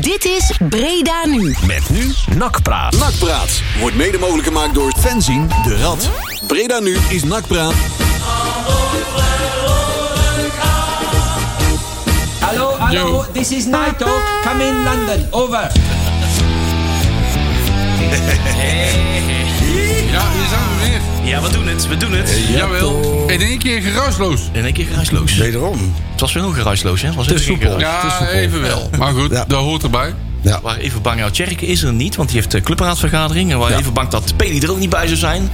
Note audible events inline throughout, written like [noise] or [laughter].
Dit is Breda Nu. Met nu Nakpraat. Nakpraat wordt mede mogelijk gemaakt door Fenzin de Rad. Breda nu is Nakpraat. Hello, hello, this is Night Talk. Come in London. Over. Ja, hier zijn we weer. Ja, we doen het, we doen het. Jawel. In één keer geruisloos. In één keer geruisloos. Wederom. Het was wel heel geruisloos, hè? Het was even soepel. geruis. het is Ja, soepel. even wel. Maar goed, Ja. dat hoort erbij. Waar even bang uit Tjerken is er niet, want die heeft de clubraadvergadering. En waar even bang dat Peli er ook niet bij zou zijn.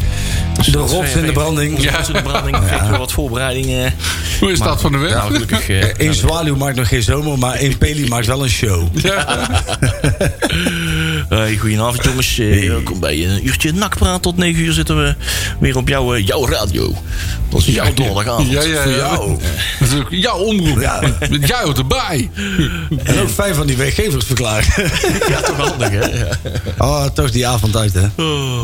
Dus De dat is rots weer in de even- branding. De rots in de branding. Even wat voorbereidingen. Hoe is Maar- dat van de weg? Nou, gelukkig. eh, In Zwaluw maakt nog geen zomer, maar in Peli maakt wel een show. [laughs] Ja. Hey, goedenavond jongens. Eh, Welkom bij een uurtje nakpraat. Tot 9 uur zitten we weer op jouw, eh, jouw radio. Dat is jouw donderdagavond. Ja, ja, voor ja. jou. Dat is ook jouw omroep. Ja. Jij hoort erbij. En ook fijn van die werkgevers [laughs] verklaren. Ja, toch handig hè? Ja. Oh, toch die avond uit, hè? Oh.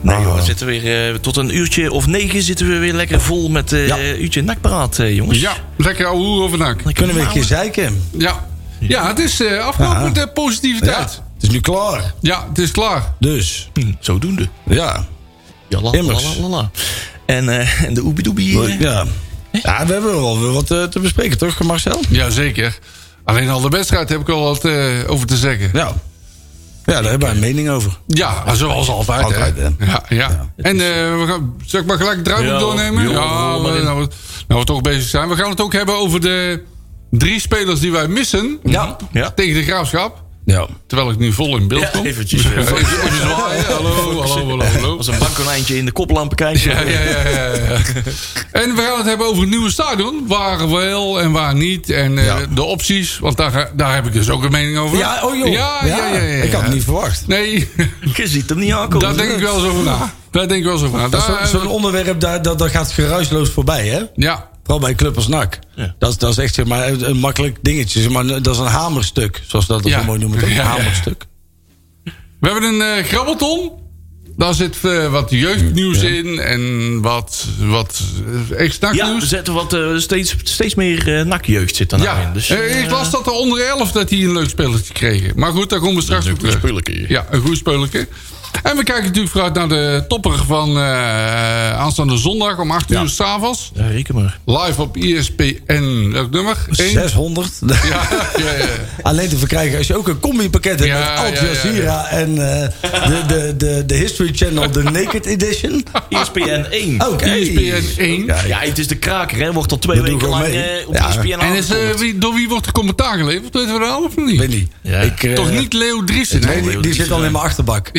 Nee, joh, we zitten weer eh, tot een uurtje of negen zitten we weer lekker vol met eh uurtje nakpraat, eh, jongens. nou. Ja, lekker ouwe hoer over nak. Kunnen we een keer zeiken? Ja. ja, het is eh, afgelopen met de Ja, positiviteit. het is nu klaar. Ja, het is klaar. Dus, Hm, Zodoende. ja. Ja, la, Immers. la, la, la, la. En, eh, en de oebidoebie. eh, Ja. ja, we hebben wel weer wat eh, te bespreken, toch, Marcel? Jazeker. Alleen al de wedstrijd heb ik al wat eh, over te zeggen. Ja. Ja, daar hebben wij een mening over. Ja, zoals altijd. Altijd, hè. Ja, ja. En eh, we gaan, zal ik maar gelijk het draaiboek Ja, doornemen? joh, ja, rol maar we- in. nou, we, nou we toch bezig zijn. We gaan het ook hebben over de drie spelers die wij missen Ja. Ja. tegen de Graafschap. Ja. Terwijl ik nu vol in beeld Ja, kom. eventjes, eh, [laughs] Even even zwaaien. [laughs] Hallo, hallo, hallo, hallo. Als een bakkonijntje in de koplampen eh, kijken. Ja, ja, ja, ja, ja. En we gaan het hebben over het nieuwe stadion. Waar wel en waar niet. En eh, de opties. Want daar, ga- daar heb ik dus ook een mening over. Ja, oh joh. Ja, ja, ja. ja, ja. Ik had het niet verwacht. Nee, Je ziet hem niet aankomen. daar denk ik wel eens over na. Daar denk ik wel eens over na. Dat is Daar- eh, zo- Zo'n onderwerp, daar, dat, dat gaat geruisloos voorbij, hè? Ja, Vooral bij een club als NAC. Ja. Dat, is- dat is echt zeg maar, een een makkelijk dingetje. Zeg maar, dat is een hamerstuk, zoals dat Ja. zo mooi noemen. toch? Een Ja, ja. hamerstuk. We hebben een eh, grabbelton. Daar zit eh, wat jeugdnieuws in en wat, wat eh, echt Ja, snacknieuws. er zitten wat, eh, steeds, steeds meer eh, nakjeugd zit er Ja, nou in. Dus, Eh, ik las dat er onder 11 dat die een leuk spelletje kregen. Maar goed, daar komen we straks een op goed terug. spelletje. Ja, een goed spelletje. En we kijken natuurlijk vooruit naar de topper van eh, aanstaande zondag om 8 uur s'avonds. Ja, reken maar. Live op E ESPN. Welk nummer? Eén? 600. Ja, ja, ja. [laughs] Alleen te verkrijgen als je ook een combipakket hebt Ja, met Al ja, ja, Jazeera en eh, de, de, de, de History Channel, [laughs] de Naked Edition. ESPN 1. Oh. Oké. E ESPN 1. Ja, het is de kraker, hè. Wordt al twee We doen weken lang gewoon mee. eh, op Ja. ESPN En is, eh, aangekondigd. wie, door wie wordt de commentaar geleverd? Weten we dat al of niet? Ik weet niet. Ja. Ik, eh, Toch niet Leo Driessen? Nee, hè? die, die zit al in mijn achterbak.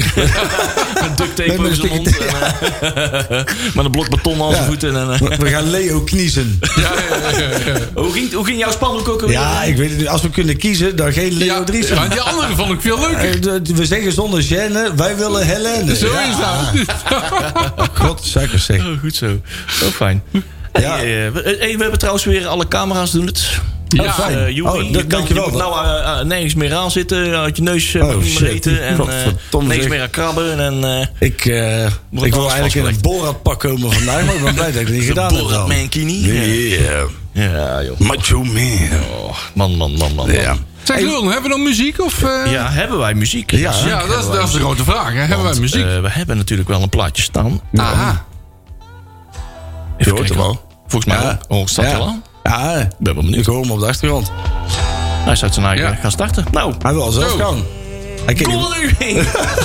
Met duct tape Nee, maar over zijn een mond. stukje- en, eh, [laughs] met een blok beton aan zijn Ja. voeten. En, eh, We we gaan Leo [laughs] kniezen. Ja, ja, ja, ja, ja. hoe, ging, hoe ging jouw spandoek ook alweer? Ja, ik weet het niet. Als we kunnen kiezen, dan geen [laughs] Leo Ja, Driessen. ja, die andere vond ik veel leuker. Eh, de- de- We zeggen zonder gêne, wij willen Helene. Zo Ja. is dat. [laughs] God, suikers zeg. Oh, goed zo. Zo fijn. Ja. Hey, eh, we, hey, we hebben trouwens weer alle camera's doen het. Ja, Dus, fijn. eh, Joeri, Oh, dat je, kan, je dankjewel. moet nou eh, eh, nergens meer aan zitten. Uit je neus eh, Oh, mag niet meer shit. eten. En eh, Godverdomme, niks zeg. meer aan krabben. En eh Ik, eh, Wordt ik wil alles eigenlijk in een vastgelegd. Borat-pak komen vandaag, maar ik ben blij dat ik het niet gedaan heb. Borat dan. Mankini. Yeah, Ja, joh. macho man. Oh, man, man, man, man. Ja. Zeg Lul, hebben we nog muziek? Of, eh? Ja, hebben wij muziek? Ja. Zeker Ja, dat is, hebben wij dat is de muziek. grote vraag. Hè? Hebben wij Want, muziek? eh, we hebben natuurlijk wel een plaatje staan. Aha. Je hoort hem al. Volgens mij. al. Oh, staat ja. hij al aan? Ja, Ik ben wel ik benieuwd. hoor hem op de achtergrond. Hij zou zijn eigen Ja. gaan starten. Nou, Hij wil zelf Zo. gaan. Hij kan Kom niet- er nu [laughs] heen.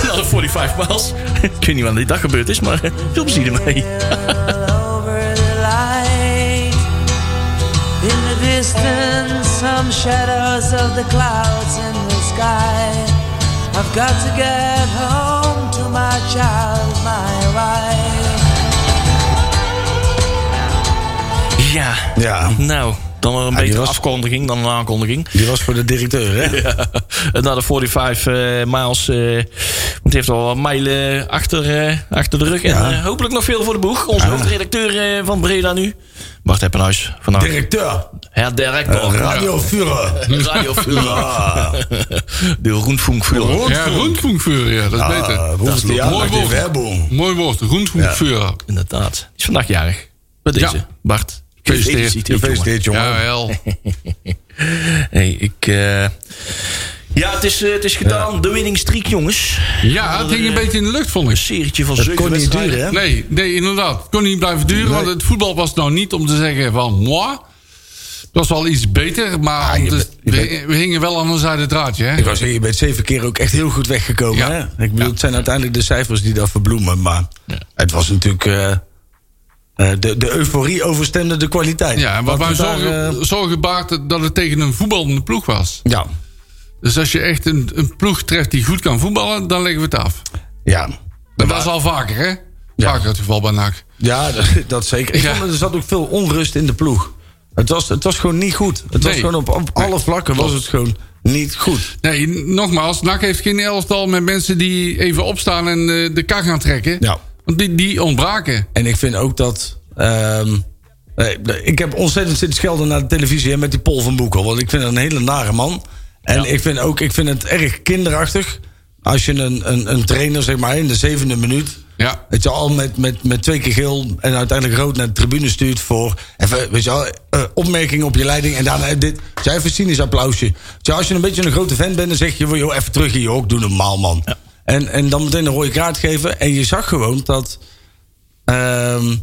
Nou, de 45 miles. Ik weet niet wat aan die dag gebeurd is, maar eh, veel plezier ermee. over the light. In the distance, some shadows of the clouds in the sky. I've got to get home to my child, my wife. Ja, Ja, nou, dan wel een die betere was- afkondiging dan een aankondiging. die was voor de directeur, hè? En Na de 45 eh, miles, eh, want die heeft al wat mijlen achter, eh, achter de rug. En eh, hopelijk nog veel voor de boeg. Onze hoofdredacteur eh, van Breda nu. Bart Heppenhuis vandaag. Directeur, Herr director. Radio Führer. Radio Ah, De Rundfunkführer. Ja, Rundfunkführer, ja, dat is beter. ah, Dat Ruf is die een mooi aandacht in woord. Werbung. Mooi woord, Rundfunkführer. Inderdaad. Die is vandaag jarig. Bij Ja. deze. Bart. Gefeliciteerd. jongen. Gefeliciteerd, jongen. Jawel. Hey, ik, eh, Ja, het is, eh, het is gedaan. De winning streak, jongens. Ja, het hing een beetje in de lucht, vond Een ik. serietje van Dat kon zeven niet wedstrijden. duren, hè? Nee, nee, inderdaad. Kon niet blijven duren, want het voetbal was nou niet om te zeggen van moi. Het was wel iets beter, maar Ah, je dus bent- je we- we, hingen wel aan een zijde draadje. Hè? Ik wou zeggen, je bent zeven keer ook echt heel goed weggekomen. Ja. Hè? Ik bedoel, het zijn uiteindelijk de cijfers die daar verbloemen. Maar het was natuurlijk... eh, eh, de, de euforie overstemde de kwaliteit. Ja, en wat mij Want daar, zorgen, eh, zorgen baarde dat het tegen een voetballende ploeg was. ja, Dus als je echt een, een ploeg treft die goed kan voetballen, dan leggen we het af. ja. Dat was al vaker, hè? Vaker het geval bij NAC. ja dat, [laughs] dat zeker. Ik Ja. vond, er zat ook veel onrust in de ploeg. Het was, het was gewoon niet goed. Het was Nee. gewoon op, op alle vlakken was het gewoon niet goed. Nee, nogmaals, NAC heeft geen elftal met mensen die even opstaan en eh, de kar gaan trekken. Ja. Want die, die ontbraken. En ik vind ook dat... ehm, nee, ik heb ontzettend zitten schelden naar de televisie... hè, met die Paul van Boekel. Want ik vind hem een hele nare man. En ik, vind ook, ik vind het erg kinderachtig... als je een, een, een trainer, zeg maar, in de zevende minuut... Ja. Weet je al met, met, met twee keer geel en uiteindelijk rood naar de tribune stuurt voor. Even, weet je wel, eh, opmerkingen op je leiding en daarna dit. Zij even cynisch applausje. Weet je, als je een beetje een grote fan bent, dan zeg je: joh, even terug hier, ook doe normaal man. En, en dan meteen een rode kaart geven. En je zag gewoon dat. ehm,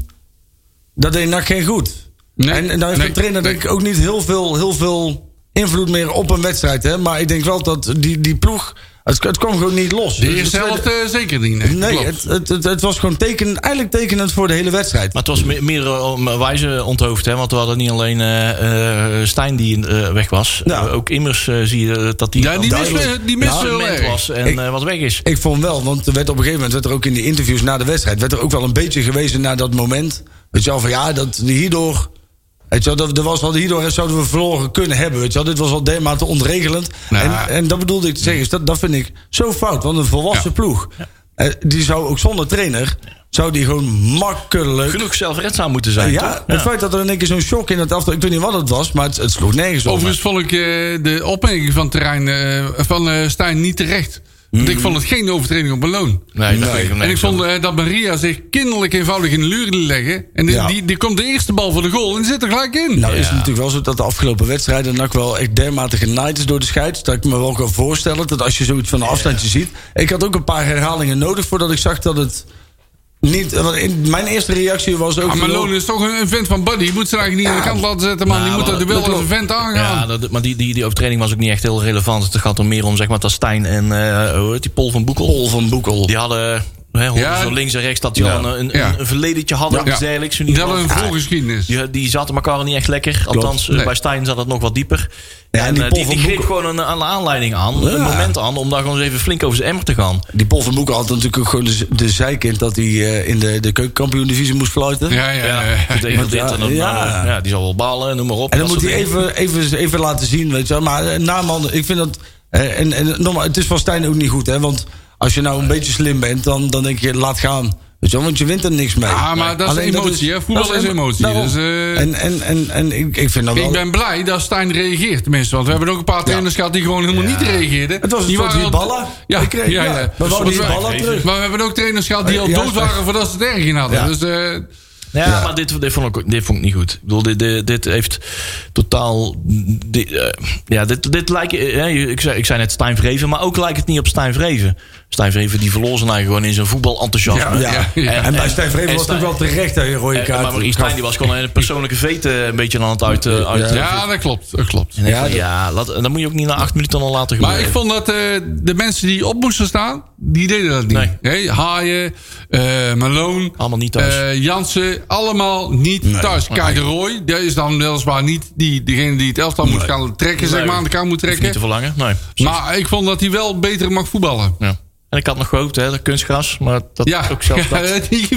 dat deed NAC geen goed. Nee, en, en dan heeft nee, een trainer denk nee. ik ook niet heel veel, heel veel invloed meer op een wedstrijd. Hè? Maar ik denk wel dat die, die ploeg. Het, het kwam gewoon niet los. De Dus eerste tweede- helft eh, zeker niet. Nee, Nee, Klopt. het, het, het, het was gewoon teken, eigenlijk tekenend voor de hele wedstrijd. Maar het was me- meer eh, om wijze onthoofd, hè? Want we hadden niet alleen eh, eh, Stijn die eh, weg was. Ja. Eh, ook immers eh, zie je dat die, Ja, die duidelijk missen we- die missen op we het wel moment erg. was en Ik- eh, wat weg is. Ik vond wel, want er werd op een gegeven moment werd er ook in die interviews na de wedstrijd... werd er ook wel een beetje gewezen naar dat moment. Weet je wel, van ja, dat hierdoor... Weet je wel, dat, dat was wel, hierdoor zouden we verloren kunnen hebben. Weet je wel, dit was al dermate ontregelend. Nou. en, en dat bedoelde ik te zeggen, is dat, dat vind ik zo fout. Want een volwassen Ja. ploeg, eh, die zou ook zonder trainer... zou die gewoon makkelijk... Genoeg zelfredzaam moeten zijn, ja, toch? het feit dat er in één keer zo'n shock in het aftal... ik weet niet wat het was, maar het, het sloeg nergens op. Overigens vond ik eh, de opmerking van, terrein, eh, van eh, Stijn niet terecht. Want Hmm. ik vond het geen overtreding op beloon. Nee, dat vind ik hem En ik nergens vond eh, dat Maria zich kinderlijk eenvoudig in de luren liet leggen. En die, Ja. die, die komt de eerste bal voor de goal en die zit er gelijk in. Nou is het natuurlijk wel zo dat de afgelopen wedstrijden NAC wel echt dermate genaaid is door de scheids. Dat ik me wel kan voorstellen dat als je zoiets van een afstandje ziet. Ik had ook een paar herhalingen nodig voordat ik zag dat het niet... want in- mijn eerste reactie was ook... Ah, maar Loon is toch een, een vent van Buddy. Je moet ze eigenlijk niet aan de kant laten zetten, man. Ja, die moet Nou, maar dat duel dat als een vent Ja, aangaan. dat, maar die, die, die overtreding was ook niet echt heel relevant. Het gaat er meer om, zeg maar, dat Stijn en eh, hoe heet die Pol van Boekel. Paul van Boekel. Die hadden hè, hoorden Ja. zo links en rechts dat die Ja. al een, een, Ja. een verledentje hadden. Ja. Iets dergelijks. Die hadden een voorgeschiedenis. Die, die zaten elkaar niet echt lekker. Althans, eh, Nee. bij Stijn zat het nog wat dieper. Ja, en en, die eh, Paul die, die van greep Boekel- gewoon een, een aanleiding aan. Een Ja. moment aan om daar gewoon eens even flink over zijn emmer te gaan. Die Paul van Boekel had natuurlijk ook gewoon de, z- de zijkind dat hij eh, in de, de keukenkampioen divisie moest fluiten. Ja, ja, ja. Ja, tegen Want de ja, internet, ja. nou, ja, die zal wel balen, noem maar op. En dan dat moet hij soort dingen. even, even, even laten zien, weet je wel. Maar eh, Naaman, ik vind dat... eh, En, en nogmaals, het is van Stijn ook niet goed, hè. Want als je nou een beetje slim bent, dan, dan denk je, laat gaan. Weet je wel, want je wint er niks mee. Ah, maar dat is emotie, hè. Voetbal em- is emotie, daarom. dus, eh, nou, en en, en, en ik, ik vind dat wel... Ik ben blij dat Stijn reageert, tenminste. Want we hebben ook een paar trainers gehad die gewoon helemaal niet reageerden. Het was een die soort al- Hiballa. Ja, Ik kreeg- ja, ja, ja. we Dus wouden wat wij- Hiballa terug. Maar we hebben ook trainers gehad die Ja, al ja, dood waren voordat ze het erg in hadden. Ja. Dus, eh, Ja, maar dit, dit, vond ik, ook- dit vond ik niet goed. Ik bedoel, dit, dit, dit heeft totaal... Dit, eh, ja, dit, dit lijkt... eh, hè, ik, zei, ik zei net Stijn Vreven, maar ook lijkt het niet op Stijn Vreven. Stijn Vreven die verloor zijn eigen gewoon in zijn voetbalenthousiasme. Ja, ja, ja. En bij Stijn Vreven en was het ook Stijn- wel terecht dat je een rode eh, kaart maar Maurice gaf. Stijn die was gewoon een persoonlijke veet eh, een beetje aan het uit, eh, uit ja, dat klopt. Dat klopt. En ik van, ja, laat, dan moet je ook niet na acht minuten al laten Maar gebeuren. ik vond dat eh, de mensen die op moesten staan, die deden dat niet. Nee. Nee. Haaien, eh Malone, Allemaal niet thuis. eh, Jansen, allemaal niet thuis. Kai de Roy, dat is dan weliswaar niet die, degene die het elftal moet gaan trekken, zeg Nee. maar, aan de kant moet Hoeft niet te trekken. verlangen, nee. Maar ik vond dat hij wel beter mag voetballen. Ja. En ik had nog gehoopt, hè, dat kunstgras. Maar dat Ja, [laughs] ook zelfs dat... ja, die,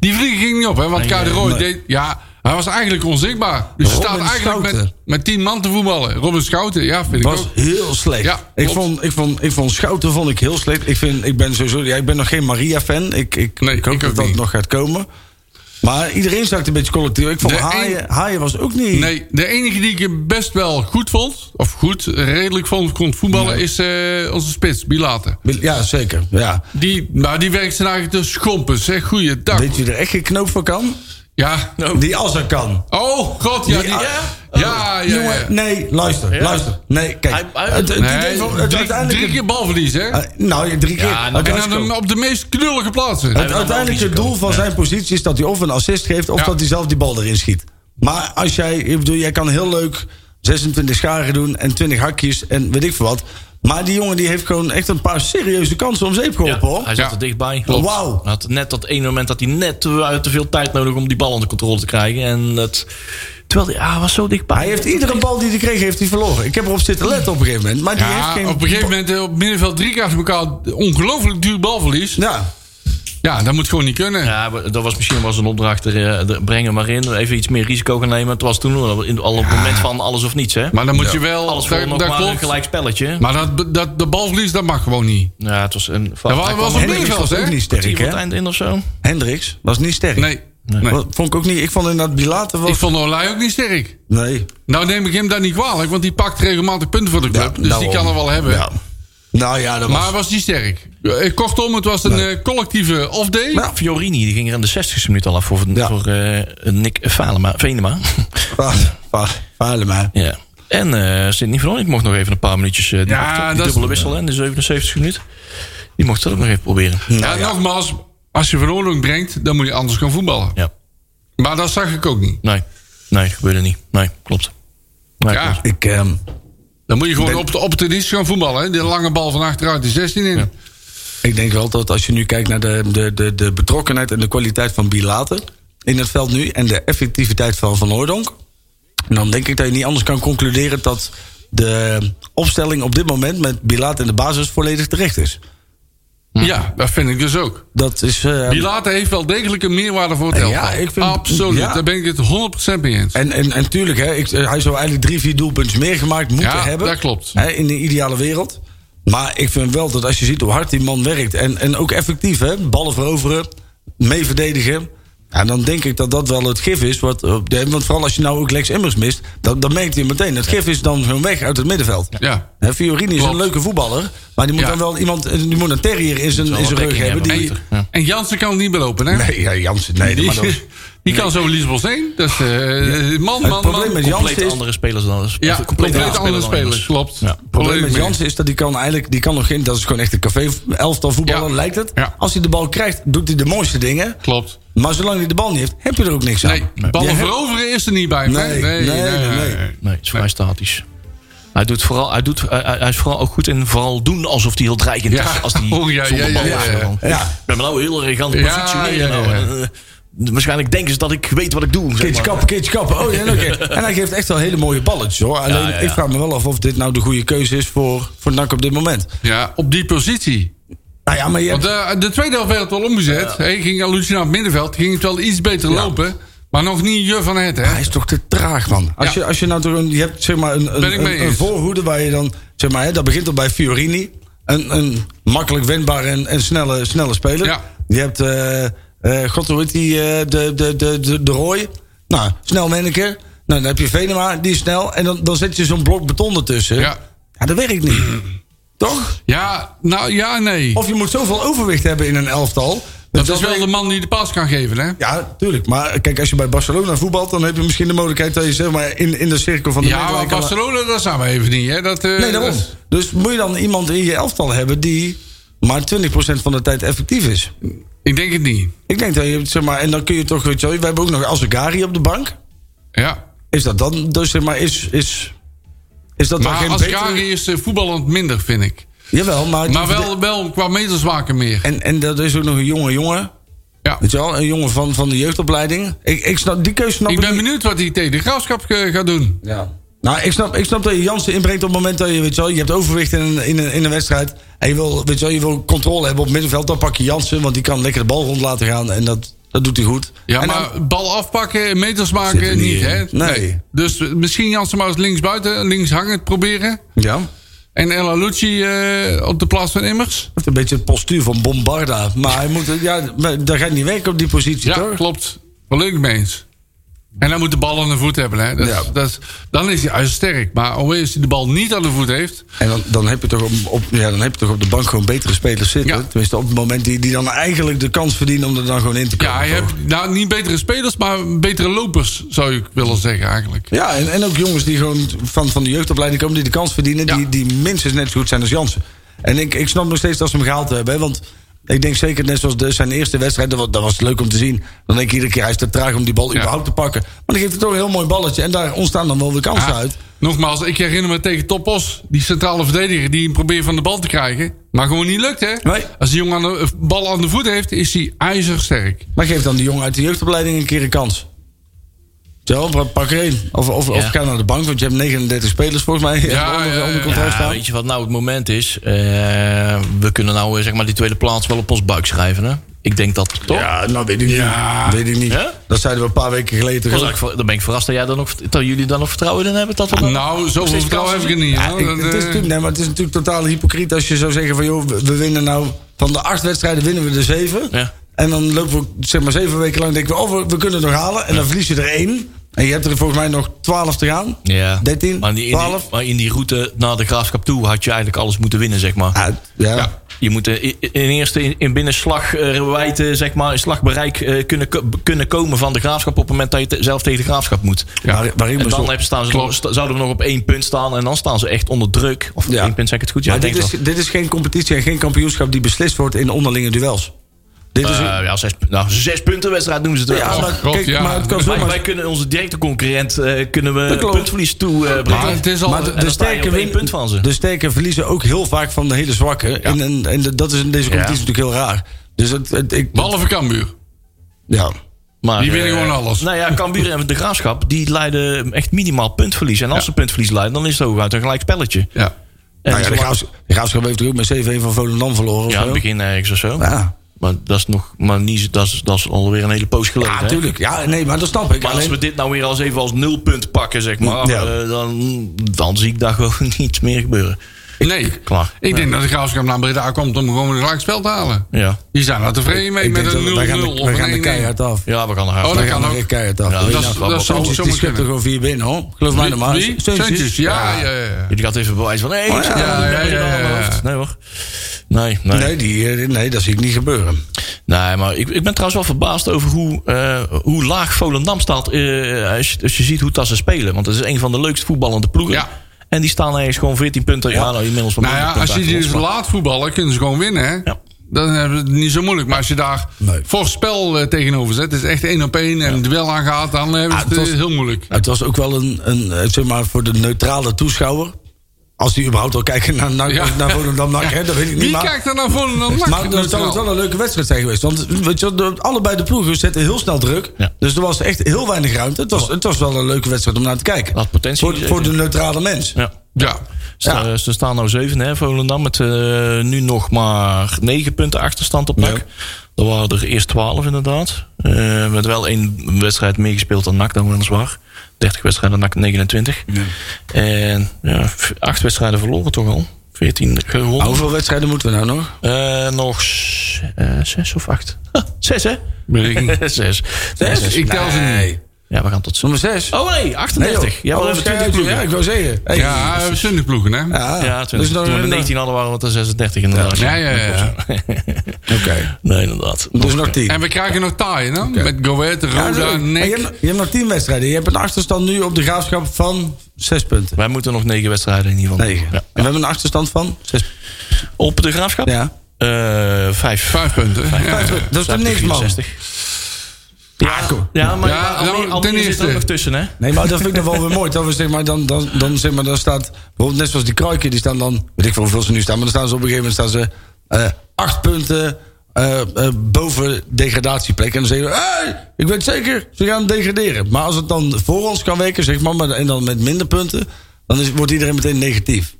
die vliegen ging niet op, hè? Want Kai de Roy deed. Ja, hij was eigenlijk onzichtbaar. Dus je Robin staat eigenlijk met, Schouten. met tien man te voetballen. Robin Schouten, ja, vind ik was ook. heel slecht. Ja, ik, klopt. vond, ik, vond, ik vond Schouten vond ik heel slecht. Ik, vind, ik ben sowieso. Ja, ik ben nog geen Maria-fan. Ik, ik, Nee, ik hoop ik ook dat dat niet. nog gaat komen. Maar iedereen zakt een beetje collectief. Ik vond De Haaien, een- Haaien was ook niet. Nee, de enige die ik best wel goed vond, of goed, redelijk vond, kon voetballen, is eh, onze spits, Bilate. Ja, zeker. Ja. Die, maar die werkt zijn eigen te schompens, zeg. Goeiedag. Weet je er echt geen knoop van kan? Ja. Die als er kan. Oh, god. Ja, Die- die, ja, ja, ja. Jongen, nee, luister, Ja. luister. Nee, kijk. Hij- hij- het, het Nee, idee van- het drie, uiteindelijk- drie keer balverlies, hè? Eh, nou, drie keer. Ja, nou, Het en uiteindelijk- dan op de meest knullige plaatsen. het uiteindelijk het doel van zijn positie is dat hij of een assist geeft... of Ja. dat hij zelf die bal erin schiet. Maar als jij... Ik bedoel, jij kan heel leuk 26 scharen doen en 20 hakjes en weet ik veel wat. Maar die jongen die heeft gewoon echt een paar serieuze kansen om zeep Ja, geholpen, hoor. hij zat Ja. er dichtbij. Klopt. Wauw. Hij had net dat ene moment dat hij net te, te veel tijd nodig om die bal onder controle te krijgen. En dat, terwijl hij, ah, hij was zo dichtbij. Hij heeft iedere bal die hij kreeg, heeft hij verloren. Ik heb erop zitten letten op een gegeven moment. Maar die heeft Ja, geen... op een gegeven moment eh, op middenveld drie keer achter elkaar ongelooflijk duur balverlies. Ja. Ja, dat moet gewoon niet kunnen. Ja, maar dat was misschien was een opdracht er, eh, er- breng hem maar in. Even iets meer risico gaan nemen. Het was toen al, in- al op het moment van alles of niets. Hè? Maar dan moet je wel... alles voor daar, nog daar maar een klopt. gelijk spelletje. Maar dat, dat, de balverlies, dat mag gewoon niet. ja, het was een... Dat was, was op Hendricks middenveld, was ook hè? niet sterk, Sterk, het hè? eind in of zo. Hendricks was niet sterk. Nee. nee. Wat- Vond ik ook niet. Ik vond inderdaad Bilater wel... Ik vond Olij ook niet sterk. Nee. Nou neem ik hem daar niet kwalijk, want die pakt regelmatig punten voor de Ja, club. dus daarom. die kan er wel hebben. Ja. Nou ja, dat was... [laughs] Maar was die sterk? Eh, Kortom, het was een eh, collectieve off-day. Ja. Fiorini die ging er in de 60ste minuut al af voor, Ja. voor eh, Nick Valema, Venema. Vaar- vaar- Vaarlema. ja. En eh Sidney Veronik mocht nog even een paar minuutjes eh die, Ja, wachten. die dat is- dubbele wissel hè, in de 77ste minuut. Die mocht dat ook nog even proberen. Ja, nou nogmaals, als je veroordeling brengt, dan moet je anders gaan voetballen. Ja. Maar dat zag ik ook niet. Nee, nee, dat gebeurde niet. Nee, klopt. Nee, Ja. klopt. Ik, ehm, Dan moet je gewoon op de, op de dienst gaan voetballen. Hè? De lange bal van achteruit de 16 in. Ja, ik denk wel dat als je nu kijkt naar de, de, de, de betrokkenheid en de kwaliteit van Bilater in het veld nu en de effectiviteit van Van Hooydonk, dan denk ik dat je niet anders kan concluderen dat de opstelling op dit moment met Bilater in de basis volledig terecht is. dat vind ik dus ook. Dat is. eh, Pilate heeft wel degelijk een meerwaarde voor het Ja, elftal. ik vind- Absoluut, ja. daar ben ik het 100% mee eens. en, en, en tuurlijk, hè, ik, eh, hij zou eigenlijk drie, vier doelpunten meer gemaakt moeten Ja, hebben. dat klopt. Hè, in de ideale wereld. Maar ik vind wel dat als je ziet hoe hard die man werkt. En, en ook effectief, hè, ballen veroveren, mee verdedigen. Ja, dan denk ik dat dat wel het gif is. Wat, op de- want vooral als je nou ook Lex Immers mist, dan, dan merkt hij meteen. Het gif is dan gewoon weg uit het middenveld. Ja. Hè, Fiorini is Klopt. een leuke voetballer. Maar die moet Ja. dan wel iemand, die moet een terrier in zijn, in zijn wel rug dekking hebben. hebben, Die, beter. En, en Jansen kan het niet belopen, hè? nee, ja, Jansen, nee. die, maar dat is- [laughs] die kan zo Lisbon zijn. Dat is, eh, man, het man, probleet man. met Compleet Jansen is andere spelers dan... Ja, compleet andere dan spelers, Immers. klopt. Ja. Het probleem met mee. Jansen is dat die kan eigenlijk, die kan nog geen, dat is gewoon echt een café elftal voetballer Ja. lijkt het. Ja. Als hij de bal krijgt, doet hij de mooiste dingen. Klopt. Maar zolang hij de bal niet heeft, heb je er ook niks Nee, aan. Je ballen hebt- veroveren is er niet bij. Nee, nee, nee. Nee, het is vrij statisch. Hij, doet vooral, hij, doet, hij, hij- hij is vooral ook goed in vooral doen alsof hij heel dreigend Ja. is. Als hij [laughs] Oh, ja, zonder ja, bal ja, ja, afgaat. ja. Ik Ja, ben me nou heel erg aan het Ja, positioneren. ja, ja. nou, en, eh, waarschijnlijk denken ze dat ik weet wat ik doe. zeg keertje maar. kappen, keertje kappen. Oh, ja, oké. En hij geeft echt wel hele mooie balletjes hoor. Alleen ja, ja. ik vraag me wel af of dit nou de goede keuze is voor, voor NAC op dit moment. Ja, op die positie. Nou ja, maar je Want hebt, eh, de tweede helft werd het wel omgezet. Hij ging Lucina op het middenveld. Ging het wel iets beter lopen. Maar nog niet je van het, hè? hij is toch te traag man. Als, Ja. je, als je nou toch een, je hebt zeg maar een, Ben ik een, mee een, een eens. voorhoede waar je dan, zeg maar, hè, dat begint al bij Fiorini. Een, een makkelijk wendbare en, en snelle, snelle speler. Ja. Je hebt, eh eh, god hoe heet die, eh, de, de, de, de, de Roy. Nou, snel manneke. Nou, dan heb je Venema, die is snel. En dan, dan zet je zo'n blok beton ertussen. Ja. ja dat werkt [clears throat] niet. Toch? Ja, nou ja, nee. Of je moet zoveel overwicht hebben in een elftal. Dat is werkt- wel de man die de pas kan geven, hè? ja, tuurlijk. Maar eh, kijk, als je bij Barcelona voetbalt, dan heb je misschien de mogelijkheid dat je zeg maar in, in de cirkel van de Ja, maar middenlijn kan- Barcelona, dat zijn we even niet, hè? Dat, eh, Nee, daarom. dat is- Dus moet je dan iemand in je elftal hebben die maar 20% van de tijd effectief is? ik denk het niet. Ik denk dat je, zeg maar, en dan kun je toch, weet je wel, we hebben ook nog Azegari op de bank. Ja. Is dat dan, dus zeg maar, is, is, is dat dan Maar geen Ascari betere... is eh, voetballend minder, vind ik. Jawel, maar... die- Maar wel, wel qua meters maken meer. En, en dat is ook nog een jonge jongen, Ja. weet je wel, een jongen van, van de jeugdopleiding. Ik, ik snap, die keuze snap Ik ik ben niet. benieuwd wat hij tegen de graafschap eh, gaat doen. Ja. Nou, ik snap, ik snap dat je Jansen inbrengt op het moment dat je, weet je, wel, je hebt overwicht in een, in, een, in een wedstrijd. En je wil, weet je, wel, je wil controle hebben op het middenveld. Dan pak je Jansen, want die kan lekker de bal rond laten gaan. En dat, dat doet hij goed. Ja, En dan- maar bal afpakken en meters Zit er maken niet niet, in. hè? Nee. Dus eh, misschien Jansen maar eens links buiten, links hangend proberen. ja. En El Alucci eh, op de plaats van Immers. Het is een beetje het postuur van Bombarda. Maar hij moet, ja, maar dat gaat niet werken op die positie, Ja, toch? klopt. Wel leuk mee eens. En hij moet de bal aan de voet hebben. Hè? Dat, Ja. dat is- dan is hij juist sterk. Maar alweer als hij de bal niet aan de voet heeft... En dan, dan, heb je toch op, op, ja, dan heb je toch op de bank gewoon betere spelers zitten. Ja. Tenminste, op het moment die, die dan eigenlijk de kans verdienen om er dan gewoon in te komen. Ja, je toch? hebt nou, niet betere spelers, maar betere lopers, zou ik willen zeggen eigenlijk. ja en, en ook jongens die gewoon van, van de jeugdopleiding komen... die de kans verdienen, Ja. die, die minstens net zo goed zijn als Jansen. En ik, ik snap nog steeds dat ze hem gehaald hebben. hè, Want ik denk zeker, net zoals de, zijn eerste wedstrijd... Dat was, dat was leuk om te zien. Dan denk ik iedere keer, hij is te traag om die bal Ja. überhaupt te pakken. Maar dan geeft het toch een heel mooi balletje. En daar ontstaan dan wel de kansen Ja, uit. Ah, nogmaals, ik herinner me tegen Topos, die centrale verdediger, die hem probeert van de bal te krijgen. Maar gewoon niet lukt, hè? Nee. Als die jongen aan de eh, bal aan de voet heeft, is hij ijzersterk. Maar geef dan die jongen uit de jeugdopleiding een keer een kans. Zo, pa- pak er één. Of, of, of Ja. ga naar de bank, want je hebt 39 spelers volgens mij Ja, [laughs] onder, ja, ja. onder contract Ja, staan. weet je wat nou het moment is? Eh, we kunnen nou eh, zeg maar die tweede plaats wel op ons buik schrijven, hè? Ik denk dat, toch? Ja, nou weet ik Ja. niet. Weet ik niet. Ja? Dat zeiden we een paar weken geleden. Dat was toch ook. eigenlijk ver- dan ben ik verrast dat, jij dan nog, dat jullie daar nog vertrouwen in hebben. Dat we dan- Nou, nog zoveel steeds vertrouwen heb kansen ik er niet. Ja, hoor. ik- Dat, het, is eh, natuurlijk, nee, maar het is natuurlijk totaal hypocriet als je zou zeggen van... joh, we, we winnen nou van de acht wedstrijden winnen we de zeven. Ja. En dan lopen we zeg maar zeven weken lang denken we... oh, we, we kunnen het nog halen. En dan verlies je er één. En je hebt er volgens mij nog twaalf te gaan. zien. Ja. 13, maar in die, in die- 12. maar in die route naar de Graafschap toe had je eigenlijk alles moeten winnen, zeg maar. Ah, ja. ja. Je moet eh, i- in eerste in, in binnenslag eh, wijd, eh, zeg maar, in slagbereik eh, kunnen, ko- kunnen komen van de graafschap op het moment dat je te- zelf tegen de graafschap moet. Waar, waar ik me En zo- dan heb, staan ze Klopt. nog- sta- zouden we nog op één punt staan en dan staan ze echt onder druk. Of Ja. één punt zeg ik het goed. Ja, maar ik dit is, denk dat. dit is geen competitie en geen kampioenschap die beslist wordt in onderlinge duels. Dit is Eh, oh, ja, zes, nou, zes punten wedstrijd noemen ze het wel. ja, maar, God, kijk, ja. maar het kan wij, zomaar wij kunnen onze directe concurrent eh, kunnen we Dat klopt. puntverlies eh, maar toebrengen. het is al... Maar de, dan de sta je sterke op één win- punt van ze. De sterke verliezen ook heel vaak van de hele zwakke. En, en, en de- dat is in deze competitie natuurlijk heel raar. Dus het, het, ik, behalve Cambuur. ja. maar, die eh, winnen gewoon alles. Nou ja, Cambuur en de Graafschap die leiden echt minimaal puntverlies. En als Ja. ze puntverlies leiden, dan is het hooguit een gelijk spelletje. Ja. En Nou ja, de, zolang- Graafs- de Graafschap heeft er ook met 7-1 van Volendam verloren. of Ja, zo. aan het begin ergens of zo. Ja. Maar dat is nog maar niet, dat is, dat is alweer een hele poos geleden. Ja, hè? natuurlijk. Ja, nee, maar dat snap ik. Maar als Alleen- we dit nou weer als even als nulpunt pakken, zeg maar, Ja. eh, dan, dan zie ik daar gewoon [laughs] niets meer gebeuren. Nee. klaar. Ik denk dat de Graafschap naar Breda komt om gewoon een gelijk spel te halen. Ja, Die zijn daar tevreden mee ik met denk een 0-0 dat of wij gaan de- wij gaan de een 1-1. keihard af. ja we gaan naar huis. Oh, Wij dat gaan kan ook. de keihard af. Ja, Weet dat je is- nou, dat zou Suntjes, zo die maar schept er kunnen. gewoon vier binnen, hoor. Geloof mij nou maar. Wie? Suntjes. Suntjes, ja, ja, ja. ja. Jullie gaat even bewijzen van, hé, hey, ik zit Oh, ja, aan de ja, derde ja, aan mijn ja. hoofd. Nee hoor. Nee, nee. Nee, die, eh, nee, dat zie ik niet gebeuren. Nee, maar ik, ik ben trouwens wel verbaasd over hoe, eh, hoe laag Volendam staat. eh, als, je, als je ziet hoe dat ze spelen. Want dat is een van de leukst voetballende ploegen. Ja. En die staan ergens gewoon 14 punten. Ja, nou inmiddels wel Nou ja, minder als je punten die dus achter ons, laat voetballen, kunnen ze gewoon winnen. Hè? Ja. Dan hebben ze het niet zo moeilijk. Maar als je daar Nee. voor spel eh, tegenover zet, is echt één op één en het wel aangaat, dan hebben ze Ah, het het eh, was- heel moeilijk. Nou, het was ook wel een, een eh, zeg maar, voor de neutrale toeschouwer. Als die überhaupt al kijken naar, naar, Ja. naar Volendam NAC, hè, dat weet ik niet. Wie maar, kijkt er nou voor dan NAC? maar dat zal het wel een leuke wedstrijd zijn geweest. Want weet je, wel, de- allebei de ploegen zetten heel snel druk. Ja. Dus er was echt heel weinig ruimte. Het was, het was wel een leuke wedstrijd om naar te kijken. Had potentie, voor, voor de neutrale mens. maar- Ja. Ja. Ze, Ja. ze staan nou zeven, hè, Volendam. Met eh, nu nog maar negen punten achterstand op NAC. Er waren er eerst twaalf inderdaad. Eh, met wel één wedstrijd meegespeeld dan NAC dan weliswaar. 30 wedstrijden NAC 29. En ja, v- acht wedstrijden verloren toch al. 14 gewonnen. Maar hoeveel wedstrijden moeten we nou nog? Eh, nog s- eh, zes of acht. Huh, zes hè? Berekend. [laughs] zes. Zes? Ik tel ze niet. Ja, we gaan tot zo. Nummer 6. Oh nee, 38. ja, Oh, we hebben 20 ploegen. Ja, ik wou zeggen. Hey. Ja, we hebben 20 ploegen, hè? Ja, Ja, dus dan- 20. Toen we de 19 hadden waren we tot 36 inderdaad. Ja, ja, ja, ja. Oké, Nee, inderdaad. dus nog 10. En we krijgen nog taaien, hè? Met Goethe, Nou, Ja, dat is Roda, leuk. En je, hebt, Nek. nog- je hebt nog 10 wedstrijden. Je hebt een achterstand nu op de graafschap van 6 punten. Wij moeten nog negen wedstrijden in ieder geval. Nee. Ja. En we hebben een achterstand van 6 Op de graafschap? Ja. Eh, vijf. Vijf punten. Ja. Dat is toch niks, man? 64. Ja, ja, maar Ja, ja, nou, Almere, ten Almere zit eerste. er ook nog tussen, hè? Nee, maar dat vind ik dan wel weer mooi. Dat we, zeg maar, dan, dan, dan, zeg maar, dan staat, bijvoorbeeld net zoals die kruiken, die staan dan, weet ik veel hoeveel ze nu staan, maar dan staan ze op een gegeven moment staan ze eh, acht punten eh, eh, boven degradatieplek. En dan zeggen we, hey, ik weet zeker, ze gaan degraderen. Maar als het dan voor ons kan werken, zeg maar, maar en dan met minder punten, dan is, wordt iedereen meteen negatief.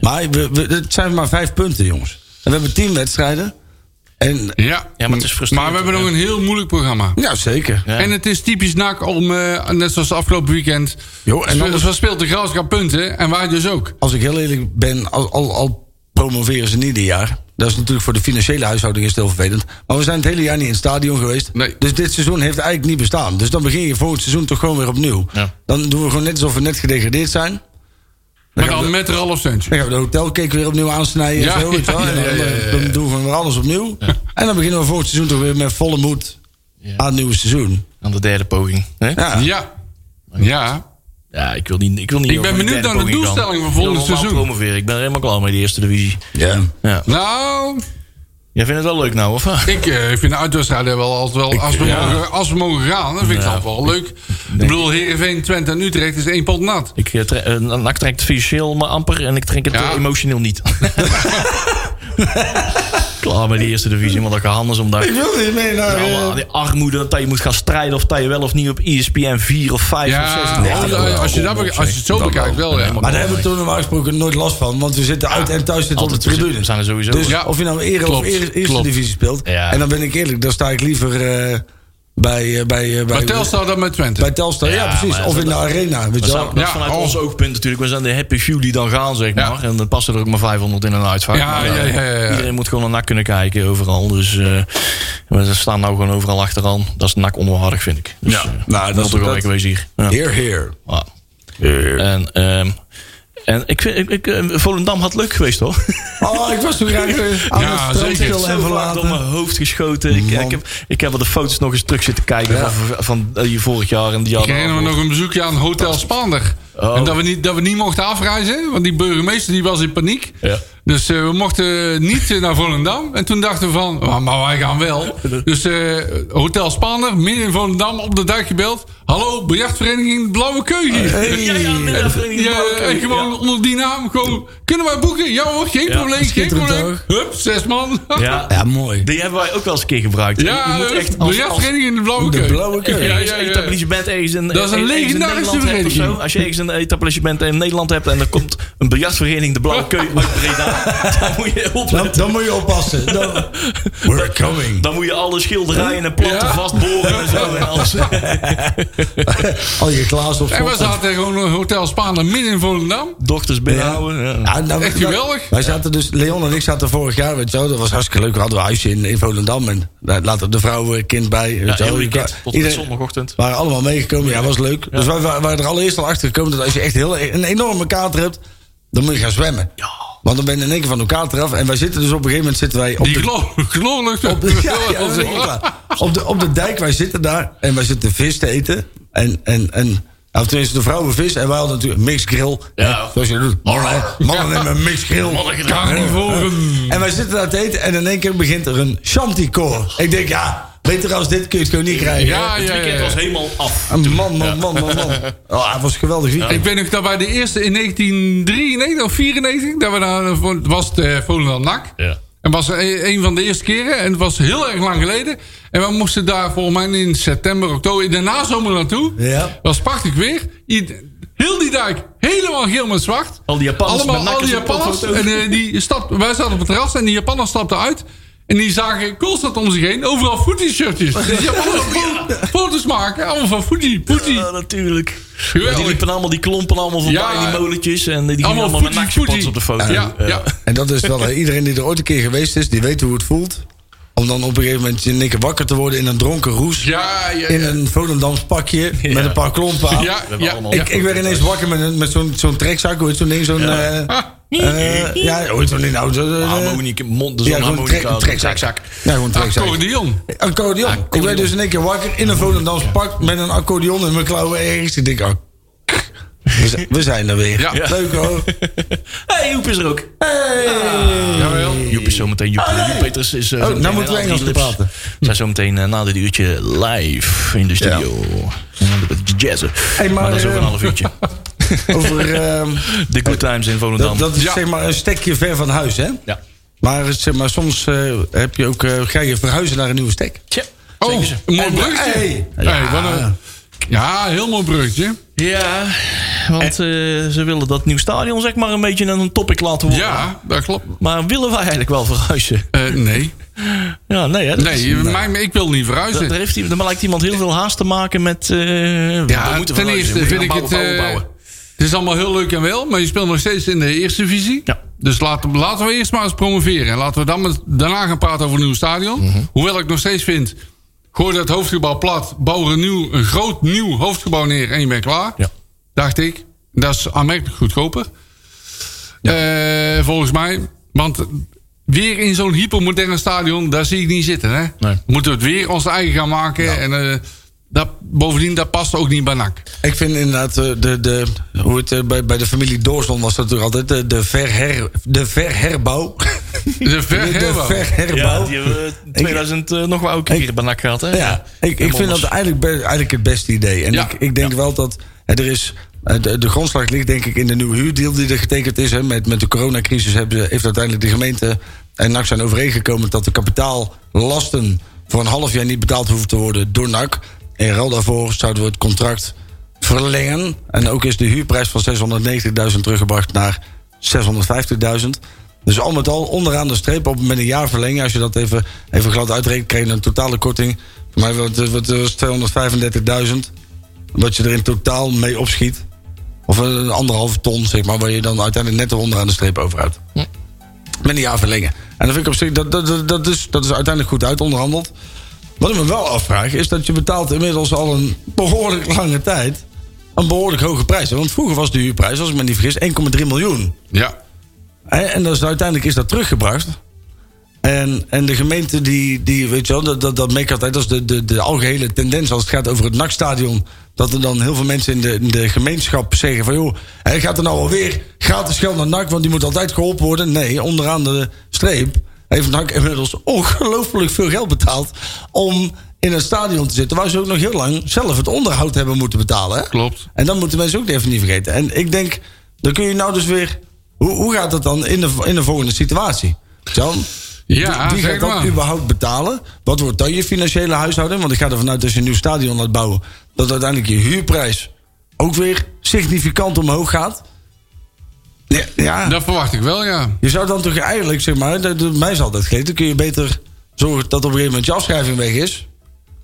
Maar we, we- het zijn maar vijf punten, jongens. En we hebben tien wedstrijden. En, Ja. Ja, maar het is frustrerend. we hebben nog een heel moeilijk programma. ja, zeker. Ja. En het is typisch NAC om, eh, net zoals afgelopen weekend... Jo, en spe- anders- zo speelt de Graafschap punten en wij dus ook. Als ik heel eerlijk ben, al, al, al promoveren ze niet ieder jaar. Dat is natuurlijk voor de financiële huishouding is het heel vervelend. Maar we zijn het hele jaar niet in het stadion geweest. Nee. Dus dit seizoen heeft eigenlijk niet bestaan. Dus dan begin je volgend seizoen toch gewoon weer opnieuw. Ja. Dan doen we gewoon net alsof we net gedegradeerd zijn. Maar gaan we dan met Ralf Sentje. Dan gaan we de hotelcake weer opnieuw aansnijden. Ja, en zo, weet [laughs] je wel. ja, En dan, eh, ja, ja, ja. dan doen we gewoon weer alles opnieuw. En dan beginnen we volgend seizoen toch weer met volle moed Ja. aan het nieuwe seizoen. Aan de derde poging. Hè? Ja. Ja. Ja. Ja, ik wil niet. Ik, wil niet Ik over ben die benieuwd derde naar de poging doelstelling gaan. van volgend Ik wil normaal seizoen. promoveren. Ik ben er helemaal klaar mee, die eerste divisie. Ja. Ja. Nou, Jij vindt het wel leuk nou, of? ik eh, vind de uitwedstrijden wel altijd wel... Als we, mogen, als we mogen gaan, dan vind ik dat wel leuk. Ik bedoel, Heerenveen, Twente en Utrecht is één pot nat. Ik, eh, tre- eh, een NAC trekt financieel maar amper en ik trek het Ja. eh, emotioneel niet. [laughs] Klaar met die eerste divisie, want dat gaat anders [laughs] om daar... Ik wil niet mee naar... eh, Allemaal die armoede, dat je moet gaan strijden of dat je wel of niet op E ESPN 4 of 5 of 6... Ja, Nee, dat als, je dat, be- als je het zo bekijkt wel, ja. maar daar hebben we toen normaal gesproken nooit last van. Want we zitten uit en thuis zitten op de Altijd tribune. zijn er sowieso. Dus Ja. of je nou ere Klopt, of eer- eerste klopt. divisie speelt. Ja. En dan ben ik eerlijk, dan sta ik liever eh, bij, eh, bij, eh, bij, Maar Telstar dan met Twente. bij Telstar. Ja, Ja, precies. maar Of dat- in de arena. Weet Dat je zou- wel. dat is Ja, vanuit oh. ons oogpunt natuurlijk. We zijn de happy few die dan gaan, zeg Ja. maar. En dan passen er ook maar 500 in een uitvaart. Ja, Maar, eh, ja, ja, ja, ja. Iedereen moet gewoon naar NAC kunnen kijken, overal. Dus eh, we staan nou gewoon overal achteraan. Dat is NAC onwaardig, vind ik. Dus, Ja. eh, Nou, dat moet is- toch wel dat- wezen hier. Ja. Heer, heer. Ja. En, ehm, en ik vind, ik, ik, eh, Volendam had leuk geweest, hoor. [laughs] Oh, ik was toen graag eh, aan Ja, het strand stil zeker. en Zo vaak door verlaten. mijn hoofd geschoten. Ik, Man. ik, heb, ik heb wel de foto's nog eens terug zitten kijken van, van eh, die vorig jaar en die jaar Ik herinner me nog een bezoekje aan Hotel Spaander. Oh. En dat we, niet, dat we niet mochten afreizen, want die burgemeester die was in paniek. Ja. Dus eh, we mochten niet eh, naar Volendam. En toen dachten we van, "Ah, maar wij gaan [laughs] wel. Dus eh, Hotel Spaander, midden in Volendam, op de duik gebeld. Hallo, bejachtvereniging Blauwe Keugen. [laughs] Ja, ja, middenvereniging Ja, Blauwe Keuken, en gewoon ja. onder die naam, gewoon, kunnen wij boeken? Ja hoor, geen Ja, probleem, geen schitterend probleem. Hup, zes man. Ja, Ja, mooi. die hebben wij ook wel eens een keer [laughs] gebruikt. Ja, je moet echt als, als bejachtvereniging de De Blauwe Keuken. blauwe Als keuken. je Ja, ergens ja, een ja. etablissement ergens in, Dat is een ergens in legendarische Nederland hebt of vereniging. zo. Als je ergens een etablissement in Nederland hebt en er komt een biljartvereniging de Blauwe Keu uit [laughs] Breda, dan moet je Dan, opletten. dan moet je oppassen. Dan, we're coming. Dan moet je alle schilderijen en platten Ja. vastboren en zo. En [laughs] alles. Al Oh, je glazen op En we slot. zaten gewoon in Hotel Spaander, midden in Volendam. Dochters binnenhouden. Dus Ja. Ja, nou, Echt nou, geweldig. Wij zaten dus, Leon en ik zaten vorig jaar, weet je wel, dat was hartstikke leuk. We hadden een huisje in, in Volendam en daar later de vrouw, eh, kind bij. Weet je wel. heel weekend, Iedereen- tot en met zondagochtend. waren allemaal meegekomen, ja, was leuk. Dus wij wa- waren er allereerst al achter gekomen dat als je echt heel, een enorme kater hebt, dan moet je gaan zwemmen. Want dan ben je in één keer van de kater af. En wij zitten dus op een gegeven moment zitten wij op Die de [laughs] gloorlucht. op de, [laughs] ja, ja, dat is echt waar. op, de, op de dijk, wij zitten daar en wij zitten vis te eten. En, en, en nou, tenminste, de vrouwen vis. En wij hadden natuurlijk mixed grill. Ja. hè, Zoals je doet. Mannen, mannen nemen een mixed grill. Carnivoren. En wij zitten daar te eten en in één keer begint er een shantycore. Ik denk, ja, beter als dit kun je het gewoon niet krijgen. Ja, Het ja, weekend ja. was helemaal af. Een Man, man, man, man, man. Oh, het was een geweldig weekend. Ik ben ook dat bij de eerste in 1993 of 94, dat we daar, eh, voor- het was de Volendam NAC. Ja. En was een, een van de eerste keren. En het was heel erg lang geleden. En we moesten daar volgens mij in september, oktober, in de nazomer naartoe. Ja. Was prachtig weer. Ied- Heel die dijk helemaal geel met zwart. Al die Japanners met Allemaal al nakkers die op de Japanners. foto. En eh, die stap, wij zaten op het terras en die Japanners stapten uit. En die zagen constant om zich heen. Overal Fuji-shirtjes. Dus [laughs] Japanners fo- foto's maken. Allemaal van Fuji. Fuji. Ja, natuurlijk. Geweldig. die liepen allemaal die klompen allemaal voorbij, Ja. die molentjes. En die gingen allemaal, Allemaal met Fuji, nakspots Fuji. op de foto. Ja, Eh, ja. En dat is wel, eh, iedereen die er ooit een keer geweest is, die weet hoe het voelt. Om dan op een gegeven moment in één keer wakker te worden in een dronken roes. Ja, ja, in ja. een Volendams pakje met een paar klompen aan. Ja, hebben ja. allemaal- ja. Ik, ik werd ineens wakker met, een- met zo'n zo'n trekzak, hoe heet zo'n ding, zo'n... [laughs] Ja, ah, ja hoe heet zo'n ding nou? Zo, Ah, Harmonica, mond, dus ja, een gewoon een trek, harmonica. een trekzak. Ja, gewoon een trekzak. Accordeon. Accordeon. Ik werd dus in één keer wakker in een Volendams pak met een accordeon in mijn klauwen ergens. Ik denk, oh, we zijn- we zijn er weer. Ja. [laughs] Leuk hoor. [laughs] hey, Joep is er ook. Ah, Jawel. Joep is zometeen. Joep, Joep Peters is... eh, Ah, Oh, zometeen nou moeten we aan het Engels lips. praten. Zijn zometeen eh, na dit uurtje live in de studio. En dan een beetje jazzen. Hey, maar, maar, dat is over eh, een half [laughs] uurtje. Over, ehm, De Good Times in Volendam. dat, dat is Ja. zeg maar een stekje ver van huis, hè? ja. Maar, zeg maar soms eh, heb je ook, eh, ga je verhuizen naar een nieuwe stek. Tja. Oh, een mooi En- bruggetje. hey. Hey, wat een- ja, heel mooi bruggetje. Ja, want eh, ze willen dat nieuw stadion zeg maar een beetje een topic laten worden. Ja, dat klopt. Maar willen wij eigenlijk wel verhuizen? Eh, nee, Ja, nee hè? Dat is- nee mijn- ik wil niet Dat, daar, verhuizen. heeft, iemand- daar lijkt iemand heel veel haast te maken met... eh, we Ja, ten moeten verhuizen, eerste we moeten vind ik gaan het... bouwen, eh, bouwen, bouwen. Het is allemaal heel leuk en wel, maar je speelt nog steeds in de eerste divisie. Ja. Dus laten, laten we eerst maar eens promoveren. En laten we dan met, daarna gaan praten over een nieuw stadion. Mhm. Hoewel ik nog steeds vind... gooi dat hoofdgebouw plat, bouw er een, nieuw, een groot nieuw hoofdgebouw neer... en je bent klaar, Ja. dacht ik. Dat is aanmerkelijk goedkoper. Eh, volgens mij. Want weer in zo'n hypermoderne stadion, daar zie ik niet zitten. Hè? Nee. Moeten we het weer ons eigen gaan maken. En eh, dat, bovendien, dat past ook niet bij NAC. Ik vind inderdaad, eh, de, de, hoe het eh, bij, bij de familie Doorsland was dat natuurlijk altijd, eh, de, de, verher, de [laughs] verherbouw. De ver, de Ja, verherbouw. die hebben we 2000 eh, nog wel ook een keer bij NAC gehad. Hè? Ja, ik, ik Helemaal vind anders. dat eigenlijk, be- eigenlijk het beste idee. En Ja. ik, ik denk wel dat eh, er is. eh, De, de grondslag ligt denk ik in de nieuwe huurdeal die er getekend is. Hè. Met, met de coronacrisis hebben ze, heeft uiteindelijk de gemeente en NAC zijn overeengekomen dat de kapitaallasten voor een half jaar niet betaald hoeven te worden door NAC. In ruil daarvoor zouden we het contract verlengen. En ook is de huurprijs van 690.000 teruggebracht naar 650.000. Dus al met al onderaan de streep op met een jaar verlengen. Als je dat even, even glad uitrekent, krijg je een totale korting. Voor mij wat, wat was het, 235.000. Wat je er in totaal mee opschiet. Of een anderhalve ton, zeg maar, waar je dan uiteindelijk net onderaan de streep overhoudt. Met een jaar verlengen. En dat vind ik op zich, dat, dat, dat, dat is, dat is uiteindelijk goed uitonderhandeld. Wat ik me wel afvraag, is dat je betaalt inmiddels al een behoorlijk lange tijd een behoorlijk hoge prijs. Want vroeger was de huurprijs, als ik me niet vergis, 1,3 miljoen. Ja. Hè, En dat is, uiteindelijk is dat teruggebracht. En, en de gemeente, die, die, weet je wel, dat, dat, dat merk je altijd. Dat is de, de, de algehele tendens als het gaat over het NAC-stadion. Dat er dan heel veel mensen in de, in de gemeenschap zeggen van... joh, hij gaat er nou alweer gratis geld naar NAC... want die moet altijd geholpen worden. Nee, onderaan de streep heeft NAC inmiddels ongelooflijk veel geld betaald... om in een stadion te zitten waar ze ook nog heel lang zelf het onderhoud hebben moeten betalen. hè? Klopt. En dat moeten mensen ook even niet vergeten. En ik denk, dan kun je nou dus weer... Hoe, hoe gaat dat dan in de, in de volgende situatie? Zo, Ja, wie zeg gaat dat maar. überhaupt betalen? Wat wordt dan je financiële huishouding? Want ik ga ervan uit als je een nieuw stadion laat bouwen... dat uiteindelijk je huurprijs ook weer significant omhoog gaat. Ja, ja. Dat verwacht ik wel, ja. je zou dan toch eigenlijk, zeg maar... Dat, dat- mij is altijd gegeten, kun je beter zorgen dat op een gegeven moment je afschrijving weg is...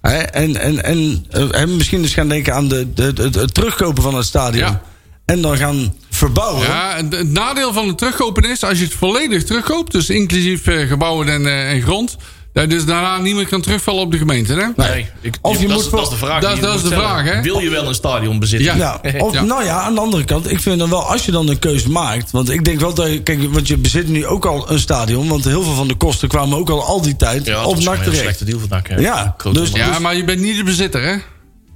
Hè? En, en, en, eh, en misschien eens gaan denken aan de, de, de- het- het terugkopen van het stadion. Ja. En dan gaan verbouwen. Ja, en het nadeel van het terugkopen is, als je het volledig terugkoopt, dus inclusief eh, gebouwen en, eh, en grond, dat je dus daarna niet meer kan terugvallen op de gemeente. Hè? Nee, ik- Of je dat, moet is, dat is de vraag. Dat- die je dat is moet de stellen. vraag, hè? Wil je wel een stadion bezitten? Ja. [laughs] Ja, of, Ja. nou ja, aan de andere kant, ik vind dan wel, als je dan een keuze maakt. Want ik denk wel dat je, kijk, want je bezit nu ook al een stadion. Want heel veel van de kosten kwamen ook al al die tijd Ja, dat op was NAC gewoon een terecht. slechte deal van NAC. hè. Ja, Groot dus- man. Ja, maar je bent niet de bezitter, hè?